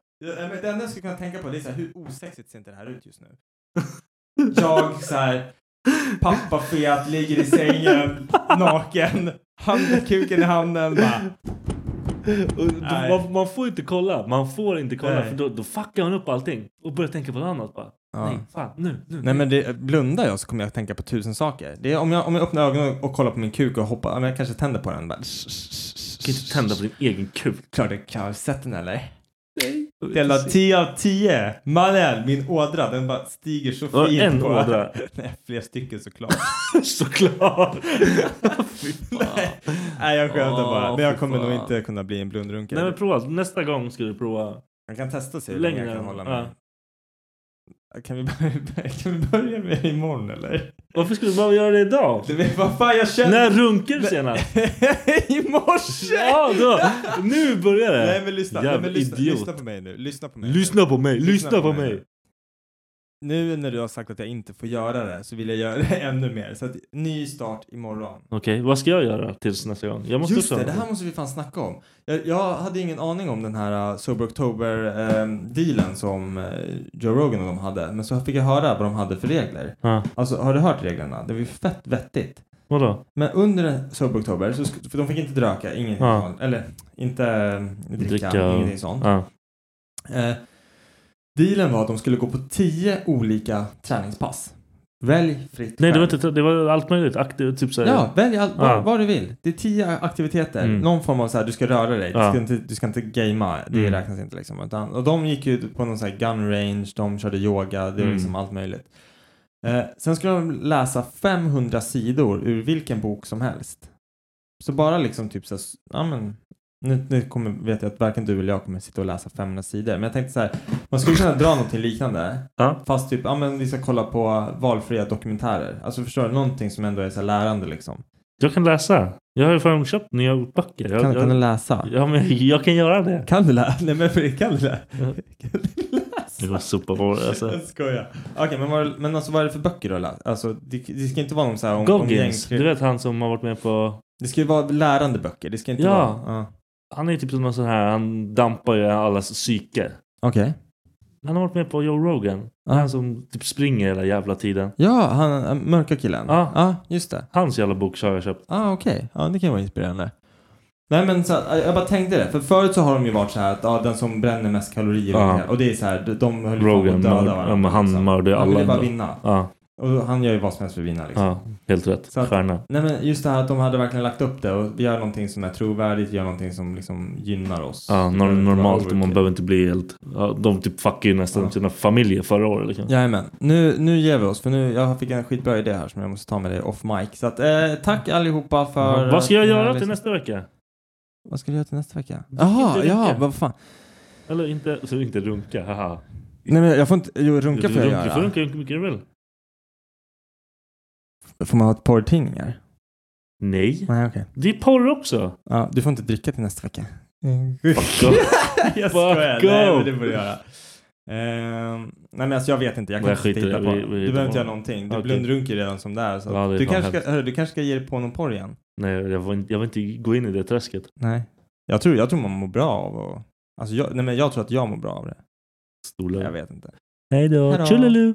[SPEAKER 2] Ja, men det enda jag skulle kunna tänka på det är så här, hur osexigt ser inte det här ut just nu? Jag så här, pappa fet, ligger i sängen, naken, hand, kuken i handen, bara.
[SPEAKER 5] Och då-
[SPEAKER 2] Nej.
[SPEAKER 5] man, man får inte kolla. Man får inte kolla
[SPEAKER 2] Nej.
[SPEAKER 5] för då, då fuckar man upp allting. Och börjar tänka på något annat bara. Nej, fan, nu, nu.
[SPEAKER 2] Nej men det, blundar jag så kommer jag att tänka på tusen saker. Det är, om, jag, om jag öppnar ögonen och kollar på min kuk och hoppar, ja, men jag kanske tänder på den. Bara. Kan
[SPEAKER 5] inte tända på din egen kuk.
[SPEAKER 2] Klart det kan. Har du sett den eller? Del av 10 av 10. Mannen, min ådra, den bara stiger så
[SPEAKER 5] Ja,
[SPEAKER 2] fint.
[SPEAKER 5] en
[SPEAKER 2] på.
[SPEAKER 5] ådra.
[SPEAKER 2] Nej, fler stycken såklart.
[SPEAKER 5] såklart.
[SPEAKER 2] Nej, nej, jag skämtar
[SPEAKER 5] Åh,
[SPEAKER 2] bara. Men jag
[SPEAKER 5] fy
[SPEAKER 2] kommer nog
[SPEAKER 5] fan.
[SPEAKER 2] inte kunna bli en blundrunkare.
[SPEAKER 5] Nej men prova. Nästa gång ska du prova.
[SPEAKER 2] Man kan testa sig hur länge jag
[SPEAKER 5] Längre
[SPEAKER 2] kan
[SPEAKER 5] än-
[SPEAKER 2] hålla
[SPEAKER 5] ja.
[SPEAKER 2] mig. Kan vi, börja, kan vi börja med imorgon eller?
[SPEAKER 5] Varför skulle du bara göra det idag?
[SPEAKER 2] Du vet vad fan jag känner.
[SPEAKER 5] När runkar du senast?
[SPEAKER 2] I morse!
[SPEAKER 5] Ja, då. Nu börjar det.
[SPEAKER 2] Nej men lyssna, nej,
[SPEAKER 5] Jävla
[SPEAKER 2] men lyssna,
[SPEAKER 5] idiot.
[SPEAKER 2] lyssna på mig nu. Lyssna på mig.
[SPEAKER 5] Lyssna på mig, lyssna på mig.
[SPEAKER 2] Nu när du har sagt att jag inte får göra det så vill jag göra det ännu mer. Så att, ny start imorgon.
[SPEAKER 5] Okej, vad ska jag göra tills nästa gång? Jag måste
[SPEAKER 2] Just
[SPEAKER 5] också-
[SPEAKER 2] det, det här måste vi fan snacka om. Jag, jag hade ingen aning om den här uh, Sober October-dealen som eh, Joe Rogan och de hade. Men så fick jag höra vad de hade för regler.
[SPEAKER 5] Ja.
[SPEAKER 2] Alltså, har du hört reglerna? Det var ju fett vettigt.
[SPEAKER 5] Vadå?
[SPEAKER 2] Men under Sober October, så sk- för de fick inte röka, ingenting
[SPEAKER 5] Ja.
[SPEAKER 2] sånt. Eller inte eh, dricka,
[SPEAKER 5] Dricka,
[SPEAKER 2] ingenting sånt.
[SPEAKER 5] ja.
[SPEAKER 2] Eh, dealen var att de skulle gå på tio olika träningspass. Välj fritt
[SPEAKER 5] Nej, det
[SPEAKER 2] själv.
[SPEAKER 5] var, inte, det var allt möjligt. Aktiv, typ så här-
[SPEAKER 2] Ja, välj all,
[SPEAKER 5] Ja.
[SPEAKER 2] vad, vad du vill. Det är tio aktiviteter.
[SPEAKER 5] Mm.
[SPEAKER 2] Någon form av så här, du ska röra dig. Du,
[SPEAKER 5] Ja.
[SPEAKER 2] ska inte, du ska inte gamea. Det
[SPEAKER 5] Mm.
[SPEAKER 2] räknas inte liksom. Utan, och de gick ju på någon så här gun range, de körde yoga, det var
[SPEAKER 5] Mm.
[SPEAKER 2] liksom allt möjligt. Eh, sen skulle de läsa 500 sidor ur vilken bok som helst. Så bara liksom typ så här, s- ja men nu, nu kommer, vet jag att varken du eller jag kommer sitta och läsa 500 sidor. Men jag tänkte så här, man skulle kunna dra någonting liknande.
[SPEAKER 5] Ja.
[SPEAKER 2] Fast typ, ja men vi ska kolla på valfria dokumentärer. Alltså förstår du, någonting som ändå är så här lärande liksom.
[SPEAKER 5] Jag kan läsa. Jag har ju fan köpt nya böcker. Jag,
[SPEAKER 2] Kan,
[SPEAKER 5] jag,
[SPEAKER 2] kan du läsa?
[SPEAKER 5] Ja, men jag kan göra det.
[SPEAKER 2] Kan du läsa? Nej men för- kan du läsa? Kan du
[SPEAKER 5] Det
[SPEAKER 2] läsa?
[SPEAKER 5] var superbra. Alltså.
[SPEAKER 2] Jag skojar. Okej men, vad, men alltså vad är det för böcker du har läst? Alltså det, det ska inte vara någon så här om, om
[SPEAKER 5] Goggins,
[SPEAKER 2] gängkrig-
[SPEAKER 5] du vet han som har varit med på...
[SPEAKER 2] Det ska ju vara lärande böcker. Det ska inte
[SPEAKER 5] Ja.
[SPEAKER 2] vara... Ja.
[SPEAKER 5] Han är ju typ som någon sån här, han dampar ju allas psyke.
[SPEAKER 2] Okej.
[SPEAKER 5] Han har varit med på Joe Rogan.
[SPEAKER 2] Ja.
[SPEAKER 5] Han som typ springer hela jävla tiden.
[SPEAKER 2] Ja, han äh, mörka killen.
[SPEAKER 5] Ja.
[SPEAKER 2] ja, just det.
[SPEAKER 5] Hans jävla bok har jag köpt.
[SPEAKER 2] Ah, okej. Ja, det kan vara inspirerande. Nej, men så, här, jag bara tänkte det. För förut så har de ju varit så här att ja, den som bränner mest kalorier
[SPEAKER 5] Ja.
[SPEAKER 2] vinner. Och det är så här, de- de höll ju på
[SPEAKER 5] Rogan,
[SPEAKER 2] att döda
[SPEAKER 5] mörd,
[SPEAKER 2] varandra.
[SPEAKER 5] ja, men han
[SPEAKER 2] liksom.
[SPEAKER 5] mördar ju alla.
[SPEAKER 2] Han ville bara
[SPEAKER 5] ändå.
[SPEAKER 2] vinna.
[SPEAKER 5] Ja,
[SPEAKER 2] Och han gör ju vad som helst för att vinna liksom.
[SPEAKER 5] ja, helt rätt.
[SPEAKER 2] Så att-
[SPEAKER 5] Stjärna.
[SPEAKER 2] Nej men just det här att de hade verkligen lagt upp det och vi gör någonting som är trovärdigt, gör någonting som liksom gynnar oss.
[SPEAKER 5] Ja,
[SPEAKER 2] Det behöver
[SPEAKER 5] nor-
[SPEAKER 2] inte vara
[SPEAKER 5] normalt.
[SPEAKER 2] overkill.
[SPEAKER 5] Man behöver inte bli helt... Ja, de typ fuckade ju nästan
[SPEAKER 2] Ja.
[SPEAKER 5] sina familjer förra året. Liksom.
[SPEAKER 2] Jajamän. Nu, nu ger vi oss för nu, jag fick en skitbra idé här som jag måste ta med dig off mic. Så att, eh, tack allihopa för...
[SPEAKER 5] Vad ska jag
[SPEAKER 2] att ni har
[SPEAKER 5] göra till
[SPEAKER 2] lyssnat.
[SPEAKER 5] nästa vecka?
[SPEAKER 2] Vad ska du göra till nästa vecka?
[SPEAKER 5] Drick
[SPEAKER 2] Jaha,
[SPEAKER 5] inte
[SPEAKER 2] ja,
[SPEAKER 5] dricka.
[SPEAKER 2] vad fan.
[SPEAKER 5] Eller inte, så inte runka, haha.
[SPEAKER 2] Nej men jag får inte, jo runka får jag
[SPEAKER 5] Du får
[SPEAKER 2] göra.
[SPEAKER 5] runka hur mycket du vill.
[SPEAKER 2] Får man ha ett porrtidningar?
[SPEAKER 5] Nej.
[SPEAKER 2] Nej okej.
[SPEAKER 5] Det är porr också.
[SPEAKER 2] Ja, du får inte dricka till nästa vecka.
[SPEAKER 5] Fuck off.
[SPEAKER 2] jag
[SPEAKER 5] Fuck
[SPEAKER 2] nej
[SPEAKER 5] off.
[SPEAKER 2] men det får du göra. Ehm, nej men alltså jag vet inte, jag kan
[SPEAKER 5] Nej,
[SPEAKER 2] inte
[SPEAKER 5] skit i det.
[SPEAKER 2] titta på.
[SPEAKER 5] Vi- vi
[SPEAKER 2] du
[SPEAKER 5] hittar
[SPEAKER 2] behöver
[SPEAKER 5] på.
[SPEAKER 2] inte göra någonting. Du
[SPEAKER 5] Okej.
[SPEAKER 2] blundrunkar ju redan som det är. Så
[SPEAKER 5] Ja, det är
[SPEAKER 2] du,
[SPEAKER 5] fan
[SPEAKER 2] kanske
[SPEAKER 5] hemskt.
[SPEAKER 2] ska, hörru, du kanske ska ge dig på någon porr igen?
[SPEAKER 5] Nej, jag vill, inte- jag vill inte gå in i det träsket.
[SPEAKER 2] Nej. Jag tror, jag tror man mår bra av att... Alltså jag, nej men jag tror att jag mår bra av det. Jag
[SPEAKER 5] Stolar.
[SPEAKER 2] vet inte.
[SPEAKER 5] Hej då.
[SPEAKER 2] Hejdå.
[SPEAKER 5] Tjolilu.